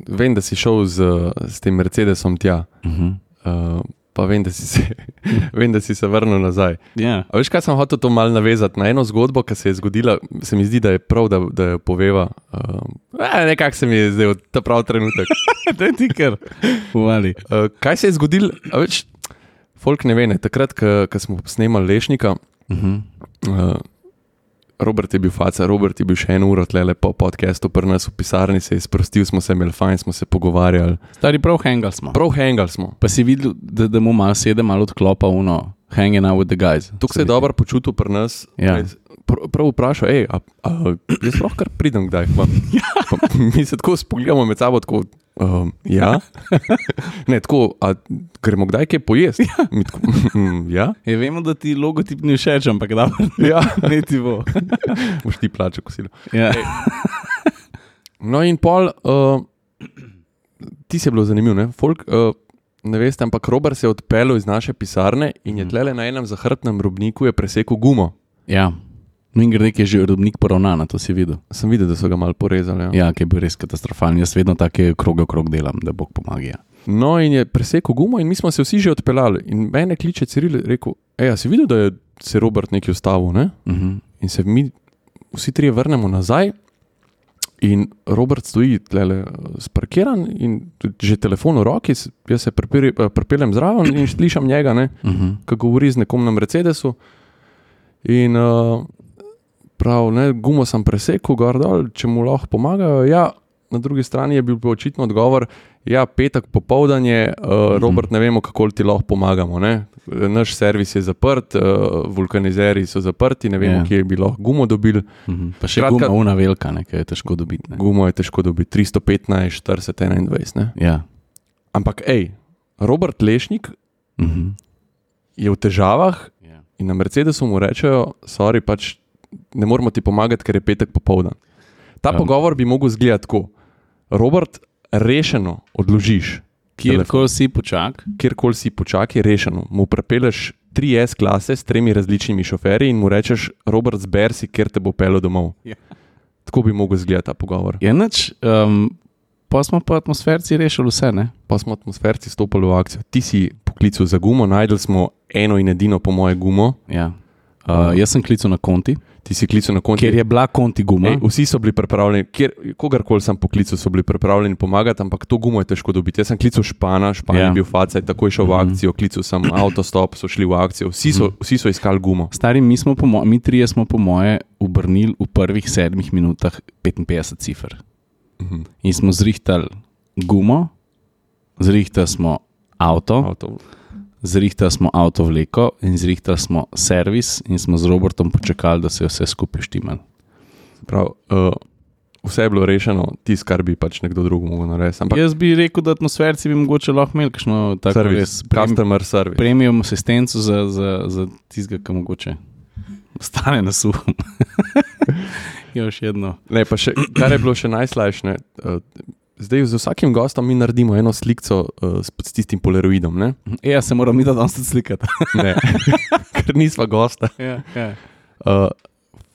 B: vem, da si šel z, s tem Mercedesom tja,
A: Uh -huh.
B: uh, pa vem da, si se, vem, da si se vrnil nazaj.
A: Ja,
B: A veš, kaj sem hotel to malo navezati na eno zgodbo, ki se je zgodila, se mi zdi, da je prav, da, da jo poveva. Uh, Nekako se mi je zdaj ta pravi trenutek.
A: to je tikar. Uvali.
B: Uh, kaj se je zgodilo, a več, folk ne ve, ne. takrat, ko smo snemali Lešnika,
A: Uh -huh.
B: uh, Robert je bil faca, Robert je bil še eno uro tle po podkastu, pri nas v pisarni se je sprostil, smo se imeli fajn, smo se pogovarjali.
A: Stari prav hangal smo.
B: Prav hengal smo.
A: Pa si videl, da, da mu malo sede, malo odklopa uno, hanging out with the guys.
B: Tukaj se je dobro počutil pri nas.
A: Ja.
B: Res. Pr- Prav vprašal, hej, a, a jaz lahko kar pridem kdaj. Pa, pa, mi se tako spogledamo med sabo, tako, um, ja. ne, tako, a gremo kdaj kaj pojesti? Ja. Mi tako, "Mm, ja.
A: Je, vemo, da ti logotip ni všeč, ampak da
B: ja.
A: ne ti bo.
B: Boš ti plačal kosilo.
A: Ja.
B: No, in pol, uh, ti si bilo zanimivo, ne? Folk, uh, ne veste, ampak Robert se je odpeljal iz naše pisarne in je tlele na enem zahrbtnem robniku je presekal gumo.
A: ja. Min grede, ki je že robnik poravnan, to si videl.
B: Sem videl, da so ga mal porezali.
A: Ja,
B: Ja.
A: ki je bil res katastrofalen. Jaz vedno take kroge okrog delam, da bog pomaga. Ja.
B: No, in je presekal gumo, in mi smo se vsi že odpeljali. In mene kliče Ciril in rekel: Ej, a si videl, da je se Robert nekaj ustavil, ne?
A: Uh -huh.
B: In se mi vsi trije vrnemo nazaj. In Robert stoji tlele sparkiran in tudi že telefon v roki, s- jaz se pripiri- eh, pripeljem zraven in slišim njega, ne,
A: Uh -huh.
B: ki govori z nekom na Mercedesu. In uh, prav, ne, gumo sem presekal, gor dol, če mu lahko pomagajo. Ja, na drugi strani je bil pa očitno odgovor, ja, petek popoldan je, uh, Robert, ne vemo, kako ti lahko pomagamo. Ne? Naš servis je zaprt, uh, vulkanizeri so zaprti, ne vemo,
A: Ja.
B: yeah. kje bi lahko gumo dobil.
A: Uh -huh. Pa še
B: Skratka-
A: Kratka... guma, una velika, ne, ki jo je težko dobiti. ne.
B: Gumo je težko dobiti 315, 40, 21. Ne?
A: Ja.
B: Ampak, hej, Robert Lešnik
A: Uh -huh.
B: je v težavah,
A: yeah.
B: In na Mercedesu mu rečejo, sorry, pač ne moremo ti pomagati, ker je petek popoldan. Ta
A: Ja.
B: um. pogovor bi mogel izgledati tako. Robert, rešeno odložiš,
A: Kjerkoli si počak,
B: kjerkoli si počakaj, rešeno. Mu prepeleš 3S klase s tremi različnimi šoferji in mu rečeš, Robert, zber si, ker te bo pelo domov.
A: Ja.
B: Tako bi mogel izgledati ta pogovor.
A: je Ja, nič. Um, pa smo po atmosferici rešili vse, ne?
B: Pa smo atmosferci stopili v akcijo. Ti si poklical za gumo, najdel smo eno in edino, po moje, gumo.
A: Ja. Uh, jaz sem klical na konti,
B: Ti si klical na koncu.
A: ker je bila konti guma.
B: Ej, vsi so bili pripravljeni, kjer, kogarkoli sem poklical, so bili pripravljeni pomagati, ampak to gumo je težko dobiti. Jaz sem klical Špana, Špan yeah.
A: Ja. Mhm.
B: je bil facaj, takoj šel v akcijo, klical sem avtostop, so šli v akcijo, vsi so, vsi so iskali gumo.
A: Stari, mi, smo po mo- mi trije smo, po moje, obrnili v prvih sedmih minutah 55 cifr.
B: Mhm.
A: In smo zrihtali gumo, zrihtali smo avto,
B: Avto.
A: zrihtali smo avto vleko in zrihtali smo servis, in smo z Robertom počakali, da se je vse skupaj štimalo.
B: Prav, uh, vse je bilo rešeno, tisto, kar bi pač nekdo drug mogel narediti. Ampak
A: Jaz bi rekel, da atmosferci bi mogoče lahko imeli kakšno Ja, tako
B: servis,
A: res prem-
B: customer service.
A: premium asistenco za, za, za tistega, ki mogoče. stane na suhu. jo še jedno.
B: Ne, pa še, kar je bilo še najslajše, ne, eh, zdaj z vsakim gostom mi naredimo eno sliko uh, s s tistim polaroidom. Ne?
A: E, ja, se moram mi da danes tudi slikati.
B: Ne, ker nisva gosta.
A: ja, ja.
B: Uh,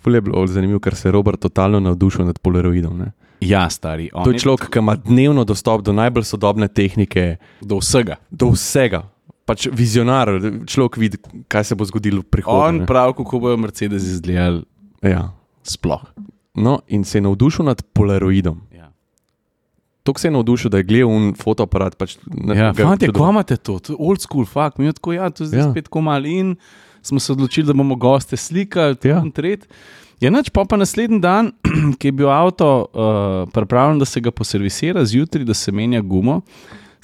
B: Ful je bilo zanimivo, ker se je Robert totalno navdušil nad polaroidom. Ne?
A: ja, stari, on
B: To
A: je
B: je človek, ki ima dnevno dostop do najbolj sodobne tehnike,
A: do vsega.
B: do vsega. Pač vizionar, človek vidi, kaj se bo zgodilo v
A: On
B: prihodnosti.
A: pravi, kako bojo Mercedes izgledali
B: Ja.
A: sploh.
B: No, in se je navdušil nad polaroidom.
A: Ja,
B: Tako se je navdušil, da je gledal un fotoaparat. Pač, ne,
A: ja
B: ga-
A: fanti,
B: tudi-
A: ko imate to, to je old school, fuck, mi je tako, ja, to je zdaj ja.
B: Ja.
A: spet komal in smo se odločili, da bomo goste slikali,
B: Ja.
A: ja. tret. Je noč pa, pa naslednji dan, ki je bil avto uh, pripravljen, da se ga poservisira zjutraj, da se menja gumo.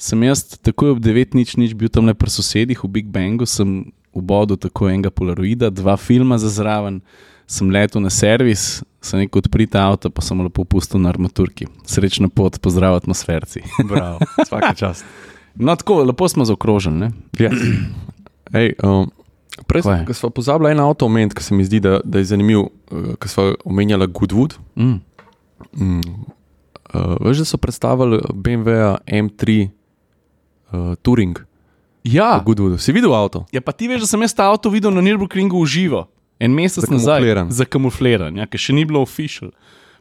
A: Sem jaz takoj ob 9 nič nič bil tam le pri sosedih v Big Bangu, sem ubodel tako enega polaroida, dva filma za zraven, sem letel na servis, sem rekel odprite avto, pa sem lepo pustil na armaturki. Srečna pot, pozdrav atmosferci.
B: Bravo, vsaka čast.
A: No, tako lepo smo zaokroženi. ne.
B: Yes. Ej, um, prej
A: Kaj?
B: smo pozabili en avto omeniti, ki se mi zdi, da, da je zanimiv, uh, ki smo omenjali Goodwood.
A: Mm.
B: Mm. Uh, veš, da so predstavili BMW M3 uh, eh, Touring v
A: Ja,
B: Goodwoodu. Si videl avto?
A: ja, pa ti veš, da sem jaz ta avto videl na Nürburgringu v živo, en mesec
B: Zakamufliran.
A: nazaj, zakamufliran, ja, ki še ni bilo official.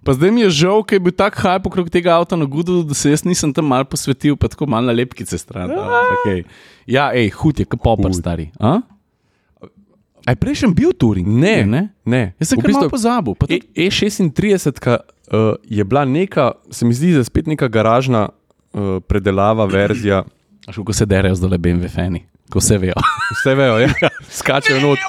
A: Pa zdaj mi je žal, ker je bil tak hype okrog tega avta na Gudu, da se jaz nisem tam mal posvetil, pa tako mal na lepkice stran. dal, ampak ej. Ja, hej, hud je, kapopar
B: Hud.
A: stari. A? A je prejšnji bil Turing?
B: Ne,
A: ne.
B: Ne,
A: Jaz sem
B: V
A: kar malo
B: bistvu-
A: pozabil. Pa tudi,
B: E, E36 ka, uh, je bila neka, se mi zdi, da spet neka garažna uh, predelava verzija.
A: e, ko se derejo zdaj le BMW fani, ko se vejo.
B: Vse vejo, ja. skačejo not.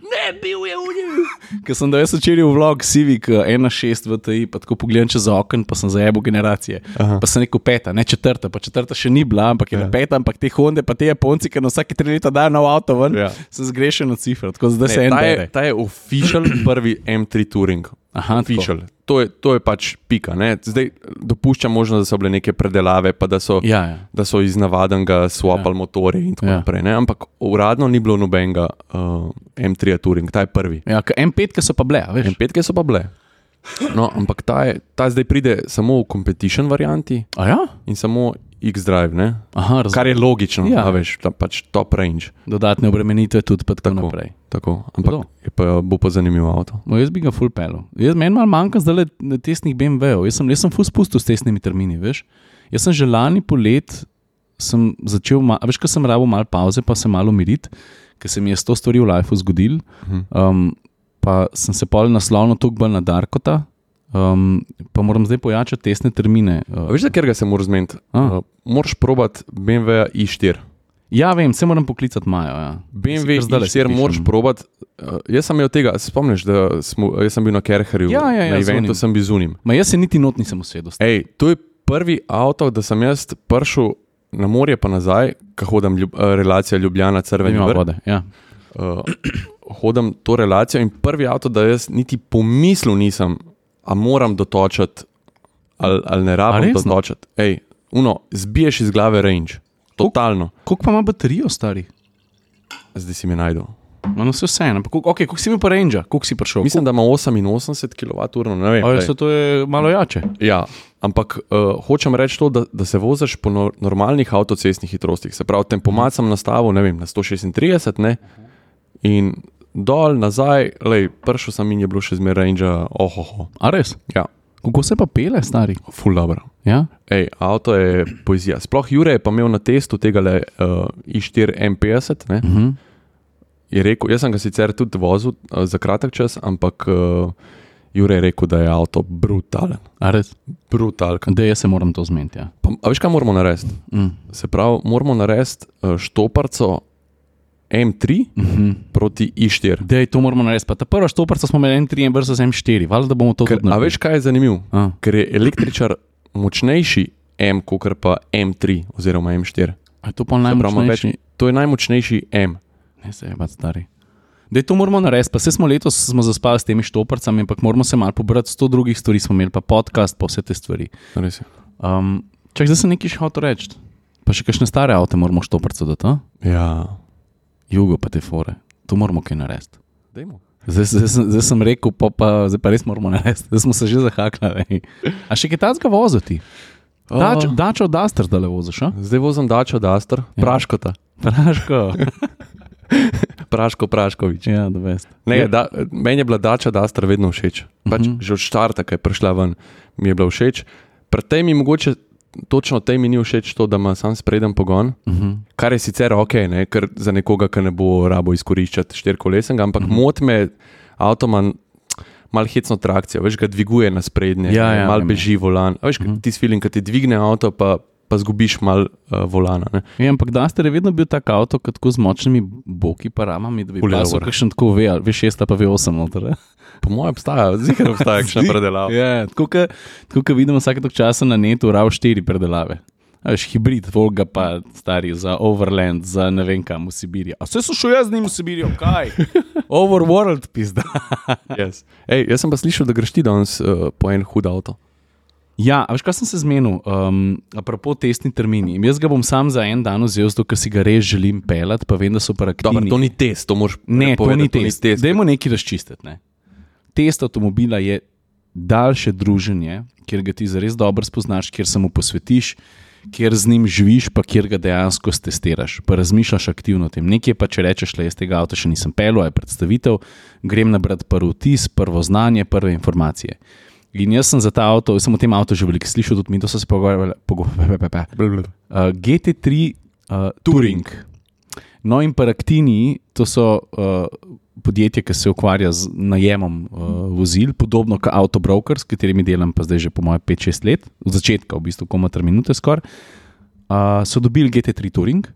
A: Ne, bil je unil. Ker sem danes včeraj v vlog Civic eh, 1.6 VTI, pa tako pogledam čez okno, pa sem zajel generacije. Aha. Pa sem rekel peta, ne četrta, pa četrta še ni bila, ampak je ja. peta, ampak te Honde, pa te Japonci, ki na vsake tri leta dajo nov avto ven, ja.
B: Ja.
A: sem zgrešen od cifra, tako da zdaj se
B: Ne,
A: en
B: ta,
A: dere.
B: je, ta je official prvi M3 Touring.
A: Aha, tako.
B: Official. To je, to je pač pika. Ne? Zdaj dopuščam možnost, da so bile neke predelave, pa da so,
A: Ja, ja.
B: da so iz navadnega swapali ja. motorje in tako
A: Ja.
B: ja. naprej. Ne? Ampak uradno ni bilo nobenega uh, M3 Touring, ta je prvi.
A: Ja, ker M5 ke so pa bile, a veš.
B: M5 so pa bile. No, ampak ta, je, ta zdaj pride samo v competition varianti
A: A ja?
B: in samo X-Drive, ne?
A: Aha, razumem.
B: kar je logično,
A: Ja.
B: ja. veš, ta pač top range.
A: Dodatne obremenitve tudi pa tako, tako.
B: Tako,
A: naprej.
B: tako.
A: Hudo.
B: Ampak je pa, bo pa zanimiv avto.
A: No, jaz bi ga full pelil. Jaz meni malo manjka zdaj tesnih BMW-jev. Jaz sem, jaz sem full spustil s tesnimi termini, veš. Jaz sem že lani polet sem začel, ma, a veš, ko sem rabo malo pauze, pa se malo umiriti, ker se mi je sto stvari v lifeu zgodil. Um, pa sem se pol naslovno tukaj bolj na Darkota, um, pa moram zdaj pojačati tesne termine.
B: A
A: Uh,
B: Veš, zakaj ga se moraš zmeniti?
A: A.
B: Uh, moraš probat BMW i4.
A: ja, vem, se moram poklicati Majo. Ja.
B: BMW
A: Jaz si kar zdajle
B: i4
A: pišem.
B: moraš probat. Uh, jaz sem imel tega, se spomniš, da smo, jaz sem bil na Kerherju,
A: Ja, ja, ja,
B: na
A: z onim.
B: eventu sem bil zunim.
A: Ma jaz se niti not nisem usedel.
B: Ej, to je prvi avto, da sem jaz prišel na morje pa nazaj, ko hodim ljub, eh, relacija Ljubljana, Crveni
A: Vemo,
B: vrh.
A: vode. Ja.
B: Uh, hodim to relacijo in prvi avto, da jaz niti pomislil nisem, a moram dotočati ali, ali ne rabim
A: resno?
B: dotočati. Ej, uno, zbiješ iz glave range. Totalno.
A: Koliko pa ima baterijo, stari?
B: Zdaj si mi najdel.
A: Ma, no, se vseeno, ampak koliko okay, koliko si imel pa Ranger, koliko si prišel?
B: Mislim, da ima 88 kWh, ne vem.
A: Ali
B: glej.
A: se to je malo jače?
B: Ja, ampak uh, hočem reči to, da, da se voziš po nor normalnih avtocestnih hitrostih. Se pravi, tempomat sem nastavil ne vem, na 136 ne? in dol, nazaj, lej, pršel sem in je bilo še zmeraj ranža, ohoho.
A: A res?
B: Ja,
A: Kako se pa pele, stari?
B: ful dobro.
A: Ja?
B: Ej, avto je poezija. Sploh Jure je pa imel na testu tega le uh, i4 M50. Ne?
A: Uh -huh.
B: je rekel, jaz sem ga sicer tudi vozil uh, za kratek čas, ampak uh, Jure je rekel, da je avto brutalen.
A: A res?
B: Brutalen.
A: Da, jaz se moram to zmeniti. Ja.
B: Pa, a veš, kaj moramo narediti?
A: Mm.
B: Se pravi, moramo narediti uh, štoparco M3
A: Uh -huh.
B: proti I4.
A: Dej, to moramo narediti. Pa ta prva štoparca smo imeli M3 versus M4, valjda da bomo to
B: Ker,
A: tudi
B: a
A: naredili.
B: veš, kaj je zanimivo?
A: A.
B: Ker je električar močnejši M, kot pa M3 oziroma M4.
A: A je to pa
B: Se pravi, ima
A: najmanj
B: več-
A: več?
B: To je najmočnejši M.
A: Ne se je pač stari. Dej, to moramo narediti. Pa se smo letos smo zaspali s temi štoparcami, ampak moramo se malo pobrati. Sto drugih stvari smo imeli, pa podcast, pa vse te stvari.
B: Res je.
A: Um, Čak, zdaj sem nekaj še hotel reči. Pa še kakšne stare avto moramo štoparca dati, a?
B: Ja,
A: jugo pa te fore. To moramo kaj narediti.
B: dajmo.
A: Zdaj, zdaj, sem- zdaj sem rekel, pa, pa, zdaj pa res moramo narediti, zdaj smo se že zahaknili. A še kitajska voziti? Dač,
B: Oh.
A: dačo daster, da le voziš, a?
B: Zdaj vozim dačo, dastar, ja. praškota,
A: Praško.
B: praško, praškovič.
A: ja, Mhm. da veš.
B: Ne, da, meni je bila dača, dastar vedno všeč. Pač uh -huh. Že od štarta, ki je prišla ven, mi je bila všeč. Pri tej mi mogoče, točno tej mi ni všeč to, da ima sam spreden pogon,
A: Uh -huh.
B: kar je sicer ok, ne, ker za nekoga, ki ne bo rabo izkoriščati štirikolesen, ampak uh
A: Mhm.
B: -huh. mot me avtoman. Mal hecno trakcijo, veš, ga dviguje na sprednje,
A: Ja, ja, Mhm.
B: mal
A: vem.
B: beži volan. A Veš, uh -huh. ti filin, ki ti dvigne avto, pa, pa zgubiš mal uh, volana. Ne.
A: Ja, ampak Duster je vedno bil tak avto, kot tako z močnimi boki, pa ramami, da bi
B: Pull it
A: pasel
B: over.
A: kakšen tako V, ali V6 ali pa V8 noter.
B: Po mojem obstaja, zihar obstaja, še predelava.
A: Ja, tako ke- tako kot vidimo vsake tok časa na netu, rav 4 predelave. A Veš, hibrid, Volga pa stari za Overland, za ne vem kam v Sibirijo. A vse so šel jaz z njim v Sibirijo, kaj? Overworld, pizda.
B: Yes. Ej, jaz sem pa slišal, da greš ti danes uh, po en hud avto.
A: Ja, a veš, kaj sem se zmenil? Um, Apropo testni termini. Jaz ga bom sam za en dan vzel, zato ker si ga res želim pelati, pa vem, da so
B: Dobar,
A: paraktivni.
B: to ni test, to moraš
A: Ne, to ni
B: povedati,
A: test. test. Dajmo nekaj razčistiti. Ne. Test avtomobila je daljše druženje, kjer ga ti zares dobro spoznaš, kjer se mu posvetiš, kjer z njim živiš, pa kjer ga dejansko testiraš, pa razmišljaš aktivno o tem. Nekje pa če rečeš, da jaz tega avta še nisem pelil, a je predstavitev, grem nabrati prvi vtis, prvo znanje, prve informacije. In jaz sem za ta avto, jaz sem o tem avtu že veliko slišal, tudi mi to so se pogovarjali, pogovarjali,
B: Blablabla.
A: Uh, GT3 uh, Touring. No, in Paraktini, to so uh, podjetje, ki se ukvarja z najemom uh, vozil, podobno kot Autobroker, s katerimi delam pa zdaj že po mojem 5-6 let, od začetka, v bistvu, koma 3 minute skoraj. Uh, so dobili GT3 Touring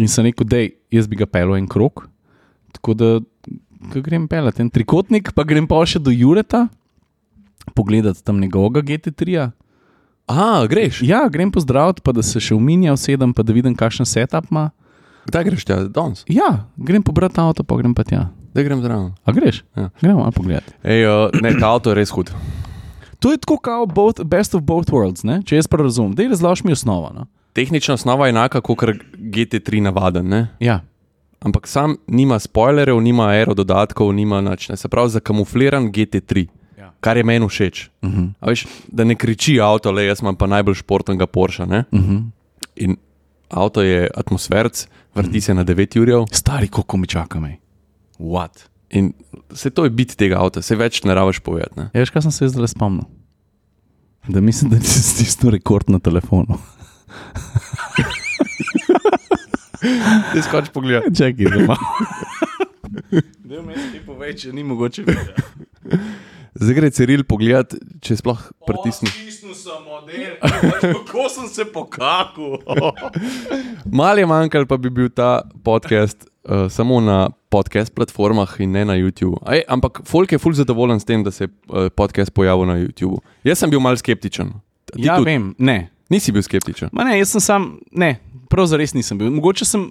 A: in sem rekel, da jaz bi ga pelil en krok. Tako da ga grem pelati en trikotnik, pa grem pa še do Jureta, pogledati tam njegovega GT3-ja.
B: A, greš.
A: Ja, grem pozdraviti, pa da se še uminja, sedem, pa da vidim, kakšen setup ima.
B: Kdaj greš tja? Danes.
A: Ja, grem pobrati avto, pa grem pa tja.
B: Da grem zraven.
A: A greš?
B: Ja.
A: Gremo malo pogled.
B: Ej, uh, ne, ta avto je res hud.
A: To je tako kot both, best of both worlds, ne? če jaz prav razumem. Dej razloži mi osnovo. No?
B: Tehnična osnova je enaka kot GT3 navaden, ne?
A: Ja.
B: ampak sam nima spoilerjev, nima aerododatkov, nima nič. Ne? Se pravi, zakamufliran GT3,
A: Ja.
B: kar je meni všeč.
A: Uh -huh.
B: A Veš, da ne kriči avto, le jaz imam pa najbolj športnega Porsche. Ne?
A: Uh -huh.
B: In avto je atmosferc, vrti se na 9 ur.
A: Stari, koliko mi čaka me. What?
B: In vse to je bit tega avta, se več ne rabiš povedati. Ne?
A: Ja, veš, kaj sem se jaz zdaj spomnil? Da mislim, da si stisnil rekord na telefonu.
B: Ti skoč pogled.
A: Čakaj, da imaš. Da, mi ti povej, če ni mogoče. ja.
B: Zdaj gre Ciril pogled, če sploh pritisne.
A: Stisnil sem model, kako sem se pokakal.
B: Mal je manjkal, pa bi bil ta podcast uh, samo na podcast platformah in ne na YouTube. Ej, ampak folk je ful zadovoljen s tem, da se je uh, podcast pojavil na YouTube. Jaz sem bil mal skeptičen. Ti
A: Ja,
B: tudi?
A: vem, ne.
B: Nisi bil skeptičen.
A: Ma ne, jaz sem sam, ne, prav zares nisem bil. Mogoče sem,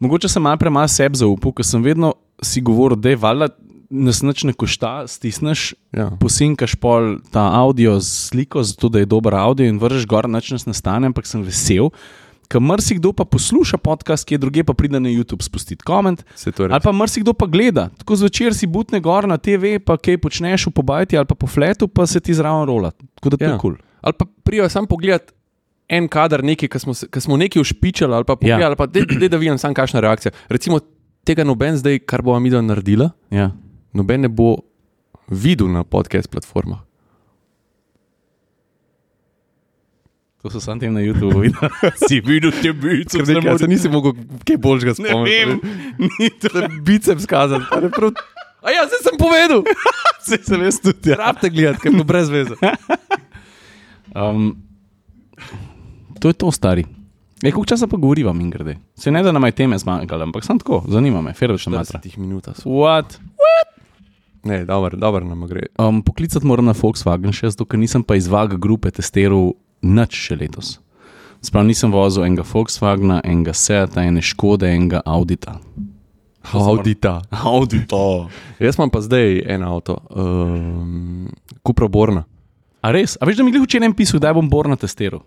A: mogoče sem malo premalo sebi zaupal, ker sem vedno si govoril, da je valjda nas nič ne košta, stisneš,
B: Ja.
A: posinkaš pol ta avdio z sliko, zato da je dober avdio in vržeš gor, nič nas ne stane, ampak sem vesel. Ker marsikdo pa posluša podcast, ki je druge, pa pride na YouTube spustiti koment.
B: Se to
A: Ali
B: reče.
A: pa marsikdo pa gleda, tako zvečer si butne gor na TV, pa kaj počneš v pobajti ali pa po fletu, pa se ti zraven rola. Tako da to
B: Ja.
A: je kul. Cool.
B: Ali pa prijo sam pogled. En kader, nekaj, ki smo, se- ki smo nekaj ušpičali, ali pa pogledali, ja. ali pa dej, dej, da vidim, sam kakšna reakcija. Recimo tega noben zdaj, kar bo Amida naredila,
A: Ja.
B: noben ne bo videl na podcast platformah.
A: To so sam tem na YouTubu videli. si videl te bice,
B: Ker nekaj, se nisem mogel kaj boljšega spomniti.
A: ni to.
B: Da biceps kazal. A ja, zdaj sem povedal.
A: Se sem jaz tudi. Ja.
B: Rabite gledati, ker je brez veze.
A: Um, to je to, stari. E, koliko časa pa govoriva mi grede? Se ne da nam je teme zmanjkalo, ampak sem tako, zanima me, ferveč na matra.
B: 20 minut.
A: What?
B: Ne, dobro, dobro nam gre.
A: Um, poklicati moram na Volkswagen še, zato ker nisem pa iz VAG grupe testiral nič še letos. Sprav nisem vozil enega Volkswagna, enega Seata, ene Škode, enega Audita.
B: Audita.
A: Audita.
B: Jaz imam pa zdaj en avto, um, Kupra Borna.
A: A res? A veš, da mi je glih včeraj en pisal, da bom Borna testiral.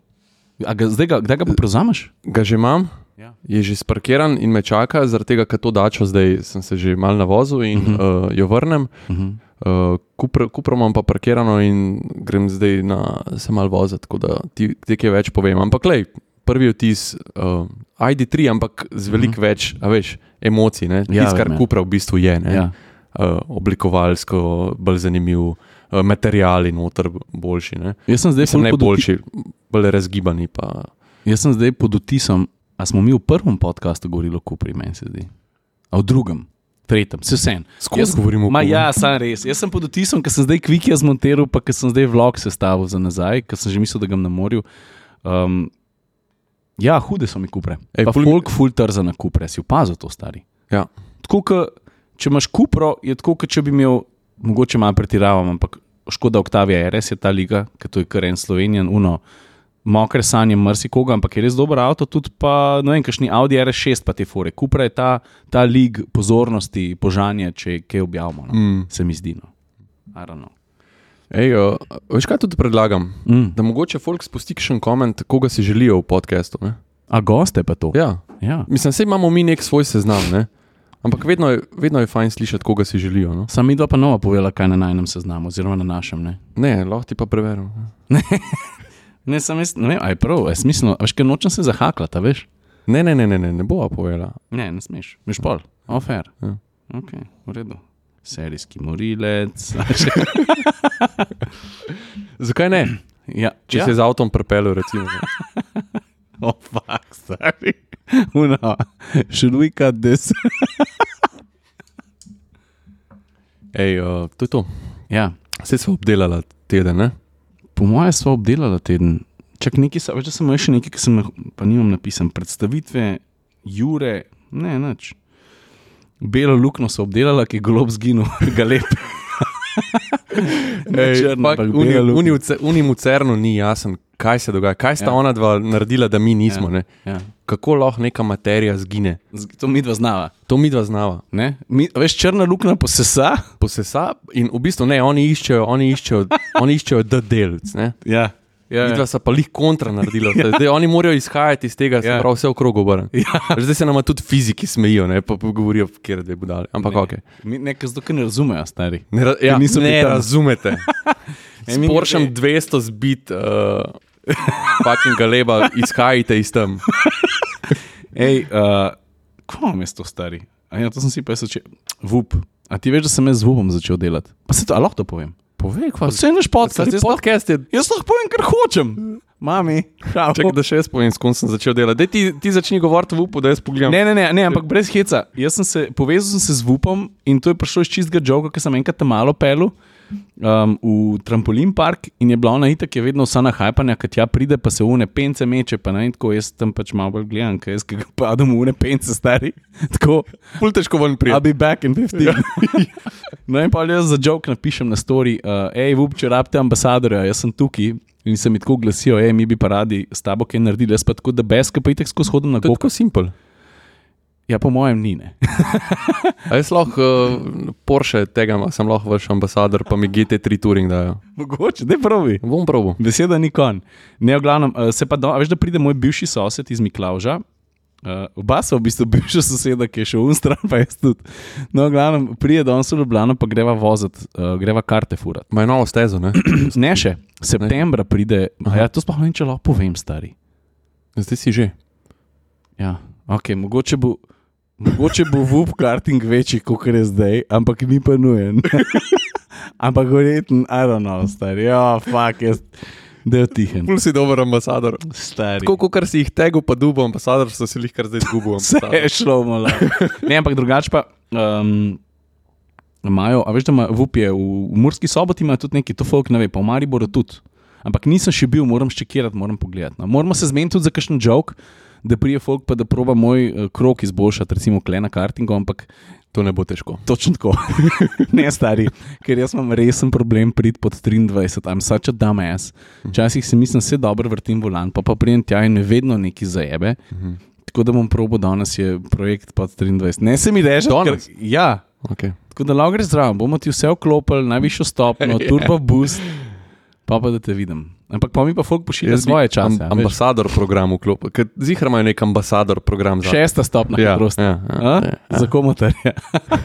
A: A Ga, zdaj ga, kdaj ga pa prevzameš?
B: Ga že imam,
A: Ja.
B: je že sparkiran in me čaka, zaradi tega, ker to dačo zdaj sem se že mal na vozu in
A: Mhm.
B: uh -huh. uh, jo vrnem.
A: Uh -huh.
B: Uh, Kupro kupro imam pa parkirano in grem zdaj na se mal voziti, tako da ti ti kaj več povem. Ampak lej, prvi vtis, uh, ID3, ampak z veliko uh -huh. več a veš, emocij, ne?
A: Mhm. Ja,
B: ja, Tis, kar
A: vem, ja.
B: Kupra v bistvu je. Ne?
A: ja.
B: Uh, oblikovalsko, bolj zanimiv, uh, material in noter boljši. Ne?
A: Jaz sem zdaj
B: Mislim,
A: ful
B: ne
A: pod vti-
B: boljši, bolj razgibani. Pa.
A: Jaz sem zdaj pod vtisom, a smo mi v prvem podkastu govorili o Kupri, meni se zdi. A v drugem, tretjem, vse vse.
B: Skozi govorimo o
A: Ma
B: Kupru.
A: ja, sam res. Jaz sem pod vtisom, ker sem zdaj kvikija zmontiral, pa ker sem zdaj vlog sestavil za nazaj, ker sem že mislil, da ga bom na morju. Um, ja, hude so mi kupre.
B: Ej,
A: Ej, pa
B: ful-
A: folk ful trza na kupre, si opazil to stari.
B: Ja.
A: Tako, ke, če imaš kupro, je tako, kot če bi imel, mogoče malo pretiravam, ampak škoda Octavia RS je ta liga, ker to je kar en slovenijan, uno, mokre sanje marsikoga, ampak je res dober avto, tudi pa, ne vem, kakšni Audi RS6 pa te fore. Kupra je ta, ta lig pozornosti, požanje, če kaj objavimo, no. mm. se mi zdi. No. I don't know.
B: Ej, uh, veš kaj tudi predlagam?
A: Mm.
B: Da mogoče folk spusti še en koment, koga si želijo v podkastu. ne?
A: A goste pa to?
B: Ja.
A: ja.
B: Mislim, da imamo mi nek svoj seznam, ne? ampak vedno je, vedno je fajn slišati, koga si želijo. No?
A: Sam mi dva pa nova povela, kaj je na najnem seznamu, oziroma na našem. Ne,
B: Ne, lahko ti pa preverim.
A: ne sem jaz, ne vem, aj prav, je smiselno, veš, ker nočem se zahaklata, veš.
B: Ne, ne, ne, ne, ne, ne bova povedala.
A: Ne, ne smeš. Miš pol, ofer.
B: Ja.
A: Ok, v redu. Serijski morilec.
B: Zakaj ne?
A: ja,
B: Če ja.
A: ja.
B: se z avtom prepelil, recimo. ne.
A: Oh, fuck, sorry. Uno, should we cut this?
B: Ej, uh, to je to.
A: ja,
B: Vse smo obdelali teden, ne?
A: po mojem smo obdelali teden. Čak nekaj, sa- veš, da sem imel še nekaj, ki sem jih, pa nimam napisan. Predstavitve, Jure, ne, nič. Belo luknjo so obdelali, ki je glob zginil, ga lep. Ne črno, ampak bela luknja.
B: Unim v Cernu ni jasen, kaj se dogaja, kaj sta
A: Ja.
B: ja. ona dva naredila, da mi nismo. Ja.
A: Ja.
B: Kako lahko neka materija zgine?
A: Z- To mi dva znava.
B: To mi dva znava.
A: Ne? Mi, a veš, črna luknja posesa.
B: posesa in v bistvu ne, oni iščejo, oni iščejo, oni iščejo the delc. Ne?
A: Ja. Ja,
B: Vidva so pa lih kontra naredila. vse. Zdaj oni morajo izhajati iz tega,
A: Ja.
B: ja. prav vse okrog obrniti. Ja. Zdaj se nam tudi fiziki smejijo, ne pa pa govorijo, kjer dve budale. Ampak ne. ok.
A: Mi nekaj zelo ne razumejo, stari.
B: Ne, ra ja,
A: niso bili
B: ne
A: tam.
B: razumete. S
A: mimogrede-
B: Poršem 200 zbit, uh, fucking galeba, izhajajte iz tam.
A: Ej, uh, kom je to stari? A ja, to sem si pa začel. Vup. A ti veš, da sem jaz z vupom začel delati? Pa se to, a lahko to povem?
B: Povej, kva.
A: Vse je naš podcast, jaz, lahko-
B: Podcast je
A: jaz lahko povem, kar hočem. Mami, čau.
B: Čakaj, da še jaz povem, s kom sem začel delati. Daj, ti, ti začni govoriti v upu, da jaz pogledam.
A: Ne, ne, ne, ne, ampak brez heca. Jaz sem se povezal sem se z Vupom in to je prišlo iz čistega žoga, ker sem enkrat tam malo pel um, v trampolin park in je bila ona itak, je vedno vsa nahajpanja, kad tja pride, pa se une pence meče, pa naj tako jaz tam pač malo bolj gledam, ker jaz ki ga padam v une pence stari. Tako,
B: Pul težko ven
A: I'll
B: prijeti.
A: be back in 15. no in pa jaz za žog napišem na story, uh, hej, Vup, če rabite ambasadorja, jaz sem tukaj. In se mi tako glasijo, hej, mi bi pa radi s tabo kaj naredili, jaz pa tako, da brez, ki pa itek skozi hodim na
B: To je
A: gok.
B: tako simpel.
A: Ja, po mojem, ni ne.
B: A jaz lahko uh, Porsche tega, ima, sem lahko vaš ambasador, pa mi GT3 Touring dajo.
A: Mogoče, da pravi.
B: Bom probo.
A: Beseda ni kon. Ne, v glavnem, eh, se pa, do, a veš, da pride moj bivši sosed iz Miklauža. Uh, oba so v bistvu bivša soseda, ki je še unstran, pa jaz tudi. No, v glavnem, pride do nas v Ljubljano, pa greva voziti, uh, greva karte furati.
B: Imajo novo stezo, ne?
A: Ne še, septembra pride, a ja, to sploh ne vem, če lahko povem, stari.
B: Zdaj si že.
A: Ja, ok, mogoče bo. Mogoče bo VUP karting večji, kot je zdaj, ampak ni pa nujen. ampak verjeten, I don't know, star, ja, fuck, jaz, da je tihen.
B: Pul si dober ambasador.
A: Stari.
B: Tako kot si jih tegu, pa dubo ambasador, so si jih kar zdaj izgubil.
A: Vse je šlo malo. Ne, ampak drugače pa. Um, Imajo, a veš, da ima Vupije v, v Murski soboti ima tudi neki, to folk ne ve, pa v Mariboru tudi. Ampak nisem še bil, moram ščekirati, moram pogledati. No. Moramo se zmeniti tudi za kakšen jok, da prije folk pa da proba moj eh, krok izboljšati, recimo klena kartingo, ampak
B: To ne bo težko.
A: točno tako. ne stari, ker jaz imam resen problem prid pod 23, I'm such a dumbass. Včasih si mislim, se dobro vrtim volan, pa pa prijem tja in me vedno neki zajebe. Tako da bom probo danes je projekt pod 23. Ne se mi reče,
B: Danes?
A: Ja,
B: Okay.
A: tako da lahko greš zraven, bomo ti vse vklopili, najvišjo stopno, turbo boost. pa pa da te vidim. Ampak pa mi pa folk pošilja
B: Jaz bi
A: svoje čase. a
B: Am,
A: veš.
B: ambasador program vklopil, ker zihar imajo nek ambasador program za
A: Šesta stopnja
B: Ja,
A: hitrosti.
B: ja, ja,
A: A?
B: ja,
A: Za komotarje.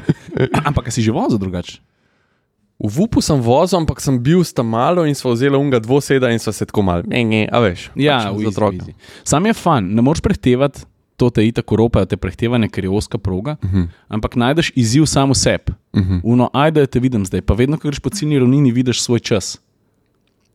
A: Ampak a si živel za drugače?
B: V Vupu sem vozil, ampak sem bil tam malo in smo vzeli unga dvoseda in smo se tako malo. Ne, ne, a veš.
A: Ja,
B: pač
A: v
B: z otroki.
A: otroci. Sam je fan, ne moreš prehtevati, to te itak uropa, te prehtevanje, ker je oska proga, uh
B: Mhm.
A: -huh. ampak najdeš izziv samo sebi. Uh -huh. Uno, ajde, te vidim zdaj, pa vedno, ko greš po ciljni ravnini, vidiš svoj čas.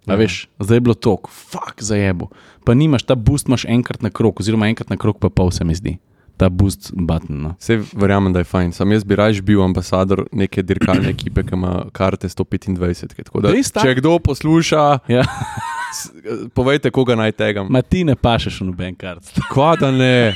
A: A
B: Ja.
A: veš, zdaj je bilo tok, fuk za jebo. Pa nimaš, ta boost imaš enkrat na krok, oziroma enkrat na krok pa pol se mi zdi. Ta boost button. No.
B: Vse verjamem, da je fajn. Sam jaz bi raje bil ambasador neke dirkalne ekipe, ki ima karte 125. Tako Da,
A: Res tako?
B: če kdo posluša,
A: Ja,
B: s- eh, povejte, koga naj tegam.
A: ma ti ne pašeš v noben kart.
B: Kva da ne.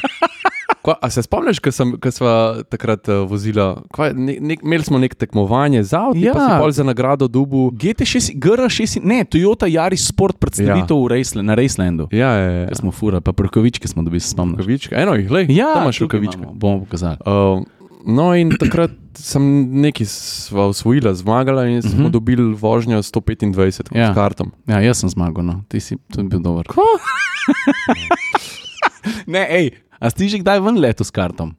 B: Kva, a se spomniš, ko sem- ko sva takrat uh, vozila? Kva, ne, ne, imeli smo nek tekmovanje za avto,
A: Ja.
B: ja. pa si pol za nagrado dubu.
A: GT6, GR6, ne, Toyota Yaris Sport predstavitev ja. Raceland, na Racelandu.
B: Ja, ja, ja.
A: Ja. Smo fura, pa rokavičke smo dobili, se spomnim.
B: Rokavičke. Eno jih, le.
A: Ja,
B: tam imaš
A: tukaj
B: rokavičke.
A: imamo, Bomo pokazali.
B: Uh, no, in takrat sem nekaj sva osvojila, zmagala in smo uh -huh. dobili vožnjo 125
A: Mhm. Ja.
B: ja. s kartom.
A: Ja, jaz sem zmagal, no. ti si tudi bil dober. Ko? ne, hej, a si ti že kdaj ven leto s kartom?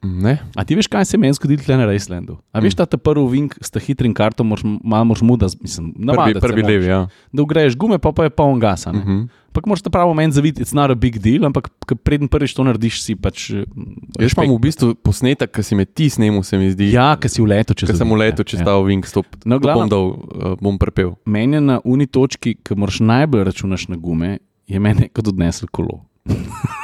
B: Ne?
A: A ti veš, kaj se je meni zgodilo tukaj na Racelandu? A
B: Hm.
A: veš, ta ta prvi vink s ta hitrim kartom, moraš m- malo moraš muda, z- mislim, na
B: Prvi, prvi levi, Mhm. ja.
A: Da ugreješ gume, pa pa je poln gas. Ampak uh -huh. moraš ta pravo meni zaviti, it's not a big deal, ampak k- preden prvič to narediš, si pač. eh,
B: Jaz
A: respekt.
B: imam v bistvu posnetek, ki si me ti snemal, se mi zdi.
A: Ja, ker si v letu, če
B: Ker sem v letu
A: Ja.
B: čestal ja. Wing Stop,
A: No,
B: to bom,
A: glavno-
B: dal, uh, bom prepel.
A: Meni je na uni točki, ki moraš najbolj računati na gume, je meni kot odnesel kolo.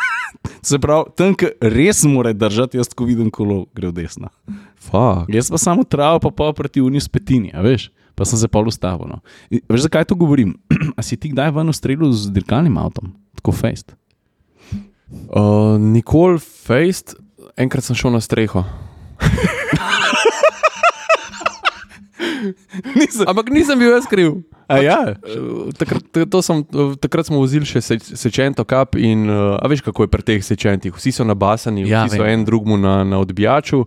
A: Se pravi, tam, ki res mora držati, jaz ko vidim kolo, gre v desno.
B: Fak.
A: Jaz pa samo travo, pa pa proti uni spetini, a veš, pa sem se pa ustavil. No. In Veš, zakaj to govorim? a si ti kdaj ven ustrelil z dirkalnim avtom, tako fejst? Eh,
B: Uh, Nikoli Fejst, enkrat sem šel na streho.
A: Nisem.
B: Ampak nisem bil jaz kriv.
A: A ja?
B: Eh, Takrat, to sem, eh, takrat smo vozili še se- sečento kap in eh, a veš, kako je pri teh sečentih. Vsi so nabasani,
A: Ja,
B: ja, vsi so
A: vem.
B: en drugemu na, na odbijaču.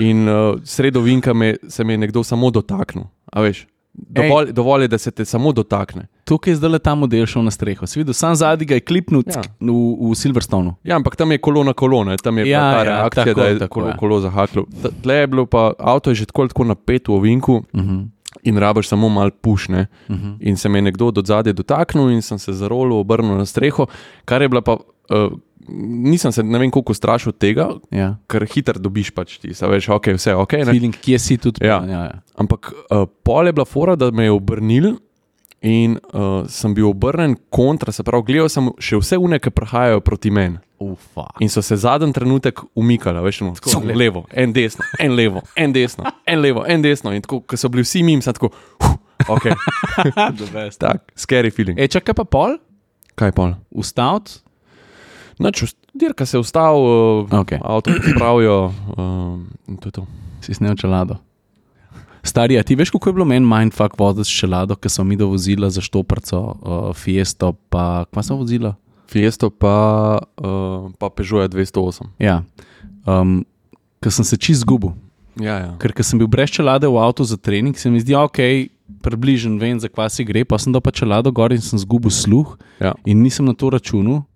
B: In uh, sredo vinka me, se mi je nekdo samo dotaknil. A veš, dovolj, dovolj je, da se te samo dotakne.
A: Tukaj je zdaj le ta model šel na streho. Si videl, sam zadnji ga je klipnil
B: Ja.
A: ja. v, v Silverstonu.
B: Ja, ampak tam je kolo na kolo, ne? tam je
A: Ja,
B: ja, ta
A: ja,
B: ja, reakcija,
A: tako,
B: tako, da je
A: tako,
B: tako, kolo,
A: ja.
B: ja. kolo zahaklo. Ta- Tle je bilo pa, avto je že tako, ali tako napet v ovinku uh
A: Mhm.
B: -huh. in rabaš samo mal pušne. Uh -huh. In se me je nekdo od zadaj dotaknil in sem se zarolil, obrnil na streho, kar je bila pa, uh, nisem se ne vem koliko strašil tega,
A: Ja.
B: ker hiter dobiš pač ti, saj veš, ok, vse ok. Ne?
A: Feeling, kje si tudi.
B: Ja.
A: ja, ja.
B: Ampak uh, pol je bila fora, da me je obrnil in uh, sem bil obrnen kontra, se pravi, gledal sem še vse une, ki prihajajo proti meni.
A: Ufa.
B: In so se zadnji trenutek umikali, veš, no, tako,
A: levo.
B: levo, en desno, en levo, en desno, en levo, en desno. In tako, ko so bili vsi mim, sem tako, huh, ok, tak, scary feeling. E,
A: E, čakaj pa pol,
B: kaj pa?
A: ustaviti.
B: Nač, dirka se je ustavil, uh,
A: Okej.
B: avto pravijo, uh, in to je to.
A: Si snel čelado. Stari, a ti veš, kako je bilo meni mindfuck voziti s čelado, ker so mi dovozila za štoprco, uh, fiesto, pa kva so vozila?
B: Fiesto pa, uh, pa Peugeot je 208.
A: Ja. Um, ker sem se čist zgubil.
B: Ja, ja.
A: Ker, ker sem bil brez čelade v avtu za trening, se mi zdi, ok, približen vem, za kva si gre, pa sem dal pa čelado gor in sem zgubil sluh
B: Ja.
A: in nisem na to računal.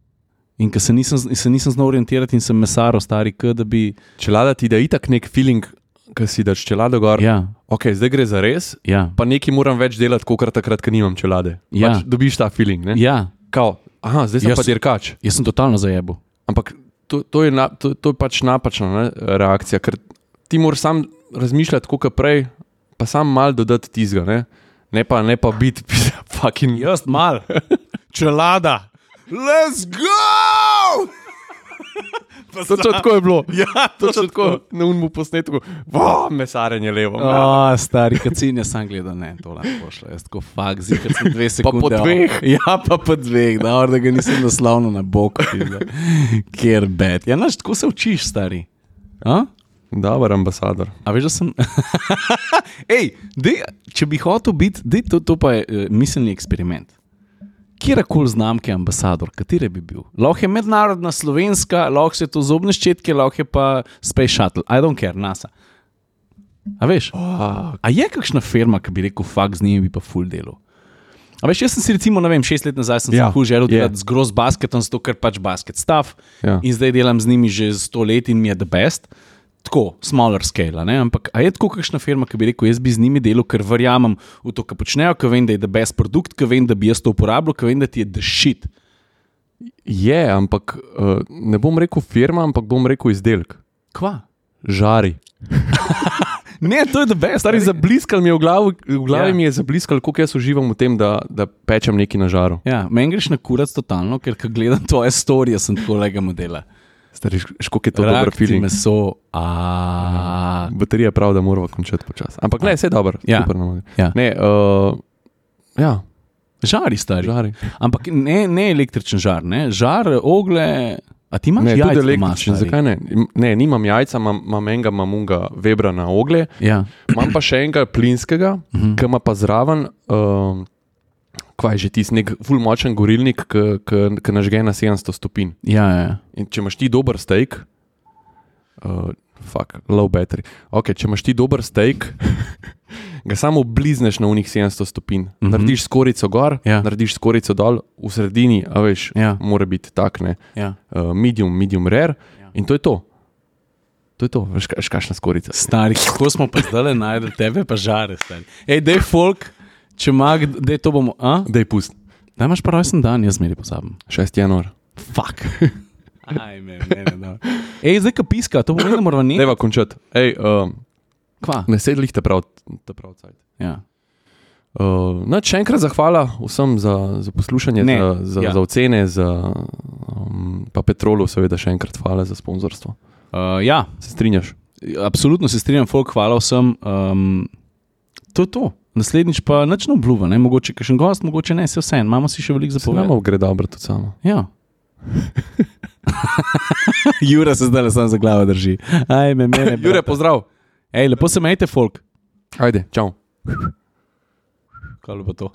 A: In ker se nisem, z- se nisem znal orientirati in sem mesaro, stari, kot da bi.
B: Čelada ti da itak nek feeling, ki si daš čelado gor.
A: Ja,
B: Ok, zdaj gre za res,
A: ja,
B: pa nekaj moram več delati, kot takrat, ko nimam čelade.
A: Ja.
B: Pač dobiš ta feeling. Ne?
A: ja.
B: Kao, aha, zdaj sem
A: Jaz-
B: Jaz... pa dirkač.
A: Jaz sem totalno zajebil.
B: Ampak to, to, je, na, to, to je pač napačna ne, reakcija, ker ti moraš sam razmišljati, kot kot prej, pa sam mal dodati tizga, ne, ne pa, ne pa biti fucking.
A: Jaz mal, čelada. Let's go!
B: Točno tako je bilo.
A: Ja,
B: Točno tako na unmu posnetku. Wow, mesarenje levo. Oh.
A: O, stari kacin, jaz sem gledal, ne, to lahko pošle. Jaz tako fakt, zikar sem dve sekunde.
B: po dveh.
A: Ja, pa po dveh, da, da ga nisem naslavno na bok. Ker bed. Ja, znaš, tako se učiš, stari. A?
B: Dober ambasador.
A: A veš, da sem. Ej, dej, če bi hotel biti, dej, to, to pa je uh, miselni eksperiment. Kjerkoli znamke je ambasador, katere bi bil? Lahko je mednarodna slovenska, lahko so to zobne ščetke, lahko je pa Space Shuttle, I don't care, NASA. A veš?
B: Oh,
A: A je kakšna firma, ki bi rekel, fakt z njimi bi pa full delo? A veš, jaz sem si recimo, ne vem, šest let nazaj sem
B: Ja,
A: ja, se želel
B: je.
A: delati z groz basketom, zato ker pač basket stav
B: Ja.
A: in zdaj delam z njimi že sto let in mi je the best. Tako, smaller scale, a ne? ampak a je tako kakšna firma, ki bi rekel, jaz bi z njimi delal, ker verjamem v to, kar počnejo, ker vem, da je the best produkt, ker vem, da bi jaz to uporabljal, ker vem, da ti je the shit.
B: Je, ampak uh, ne bom rekel firma, ampak bom rekel izdelek.
A: Kva?
B: Žari.
A: Ne, to je the best,
B: Stari,
A: stari za.
B: zabliskal mi je v glavi, v glavi
A: Ja.
B: ja. mi je zabliskal, koliko jaz uživam v tem, da, da pečem nekaj na žaru.
A: Ja, meni greš na kurac totalno, ker ko gledam tvoje storije, sem tako lega modela.
B: Stari, škok je to dober
A: Rakci,
B: film.
A: Meso, a.
B: Baterija je prav, da moramo končati počasi. Ampak ne, vse je dobro.
A: Ja.
B: Super, nam je.
A: Ja.
B: Ne, uh, ja,
A: Žari, stari.
B: žari.
A: Ampak ne, ne električen žar, ne? žar, ogle. A ti imaš
B: Ne,
A: jajca
B: tudi
A: doma,
B: električen,
A: stari?
B: zakaj ne? Im- Ne, nimam jajca, imam- imam enega mamunga, vebra na ogle,
A: Ja. Mhm.
B: imam pa še enega plinskega, ki ima pa zraven, uh, kaj je že tisti, nek fulmočen gorilnik, ki nažge na 700 stopinj.
A: Ja, ja, ja.
B: In če imaš ti dober steak, uh, fuck, low battery. Okay, če imaš ti dober steak, ga samo blizneš na unih 700 stopinj. Mm -hmm. Narediš skorico gor,
A: Ja.
B: ja. narediš skorico dol, v sredini, a veš,
A: Ja.
B: ja. mora biti tak, ne.
A: ja.
B: Uh, medium, medium rare ja. in to je to. To je to, veš, kaj- veš kakšna skorica.
A: Stari, kako smo pa zdaj najdel tebe, pa žare, stari. Ej, dej folk, če ima, da to bomo. A?
B: Dej pust,
A: Da imaš pa rojsten dan, jaz zmeri pozabim.
B: 6. januar.
A: Fak. Aj, me, me, ne, da. Ej, zdaj ka piska, to pomeni, da moramo nekaj.
B: Deva končati. Ej, um,
A: Kva.
B: ne sedlih te prav, te prav cajt.
A: Ja.
B: Uh, no, še enkrat zahvala vsem za, za poslušanje,
A: Ne,
B: ne, za, za,
A: ja.
B: ja. za ocene, za, um, pa Petrolu, seveda, še enkrat hvala za sponzorstvo.
A: Uh, ja,
B: Se strinjaš?
A: absolutno se strinjam, folk, hvala vsem. Um, to je to. Naslednjič pa nič ne obljuba, ne? mogoče kakšen gost, mogoče ne, se vse en, imamo si še veliko
B: Se nam
A: zapovedati.
B: gre dobro tudi samo.
A: Ja. Jure se zdaj le sam za glavo drži. Aj, me, mene,
B: Jure, pozdrav.
A: Ej, lepo se majte, folk.
B: Ajde, čau.
A: Kaj bo to?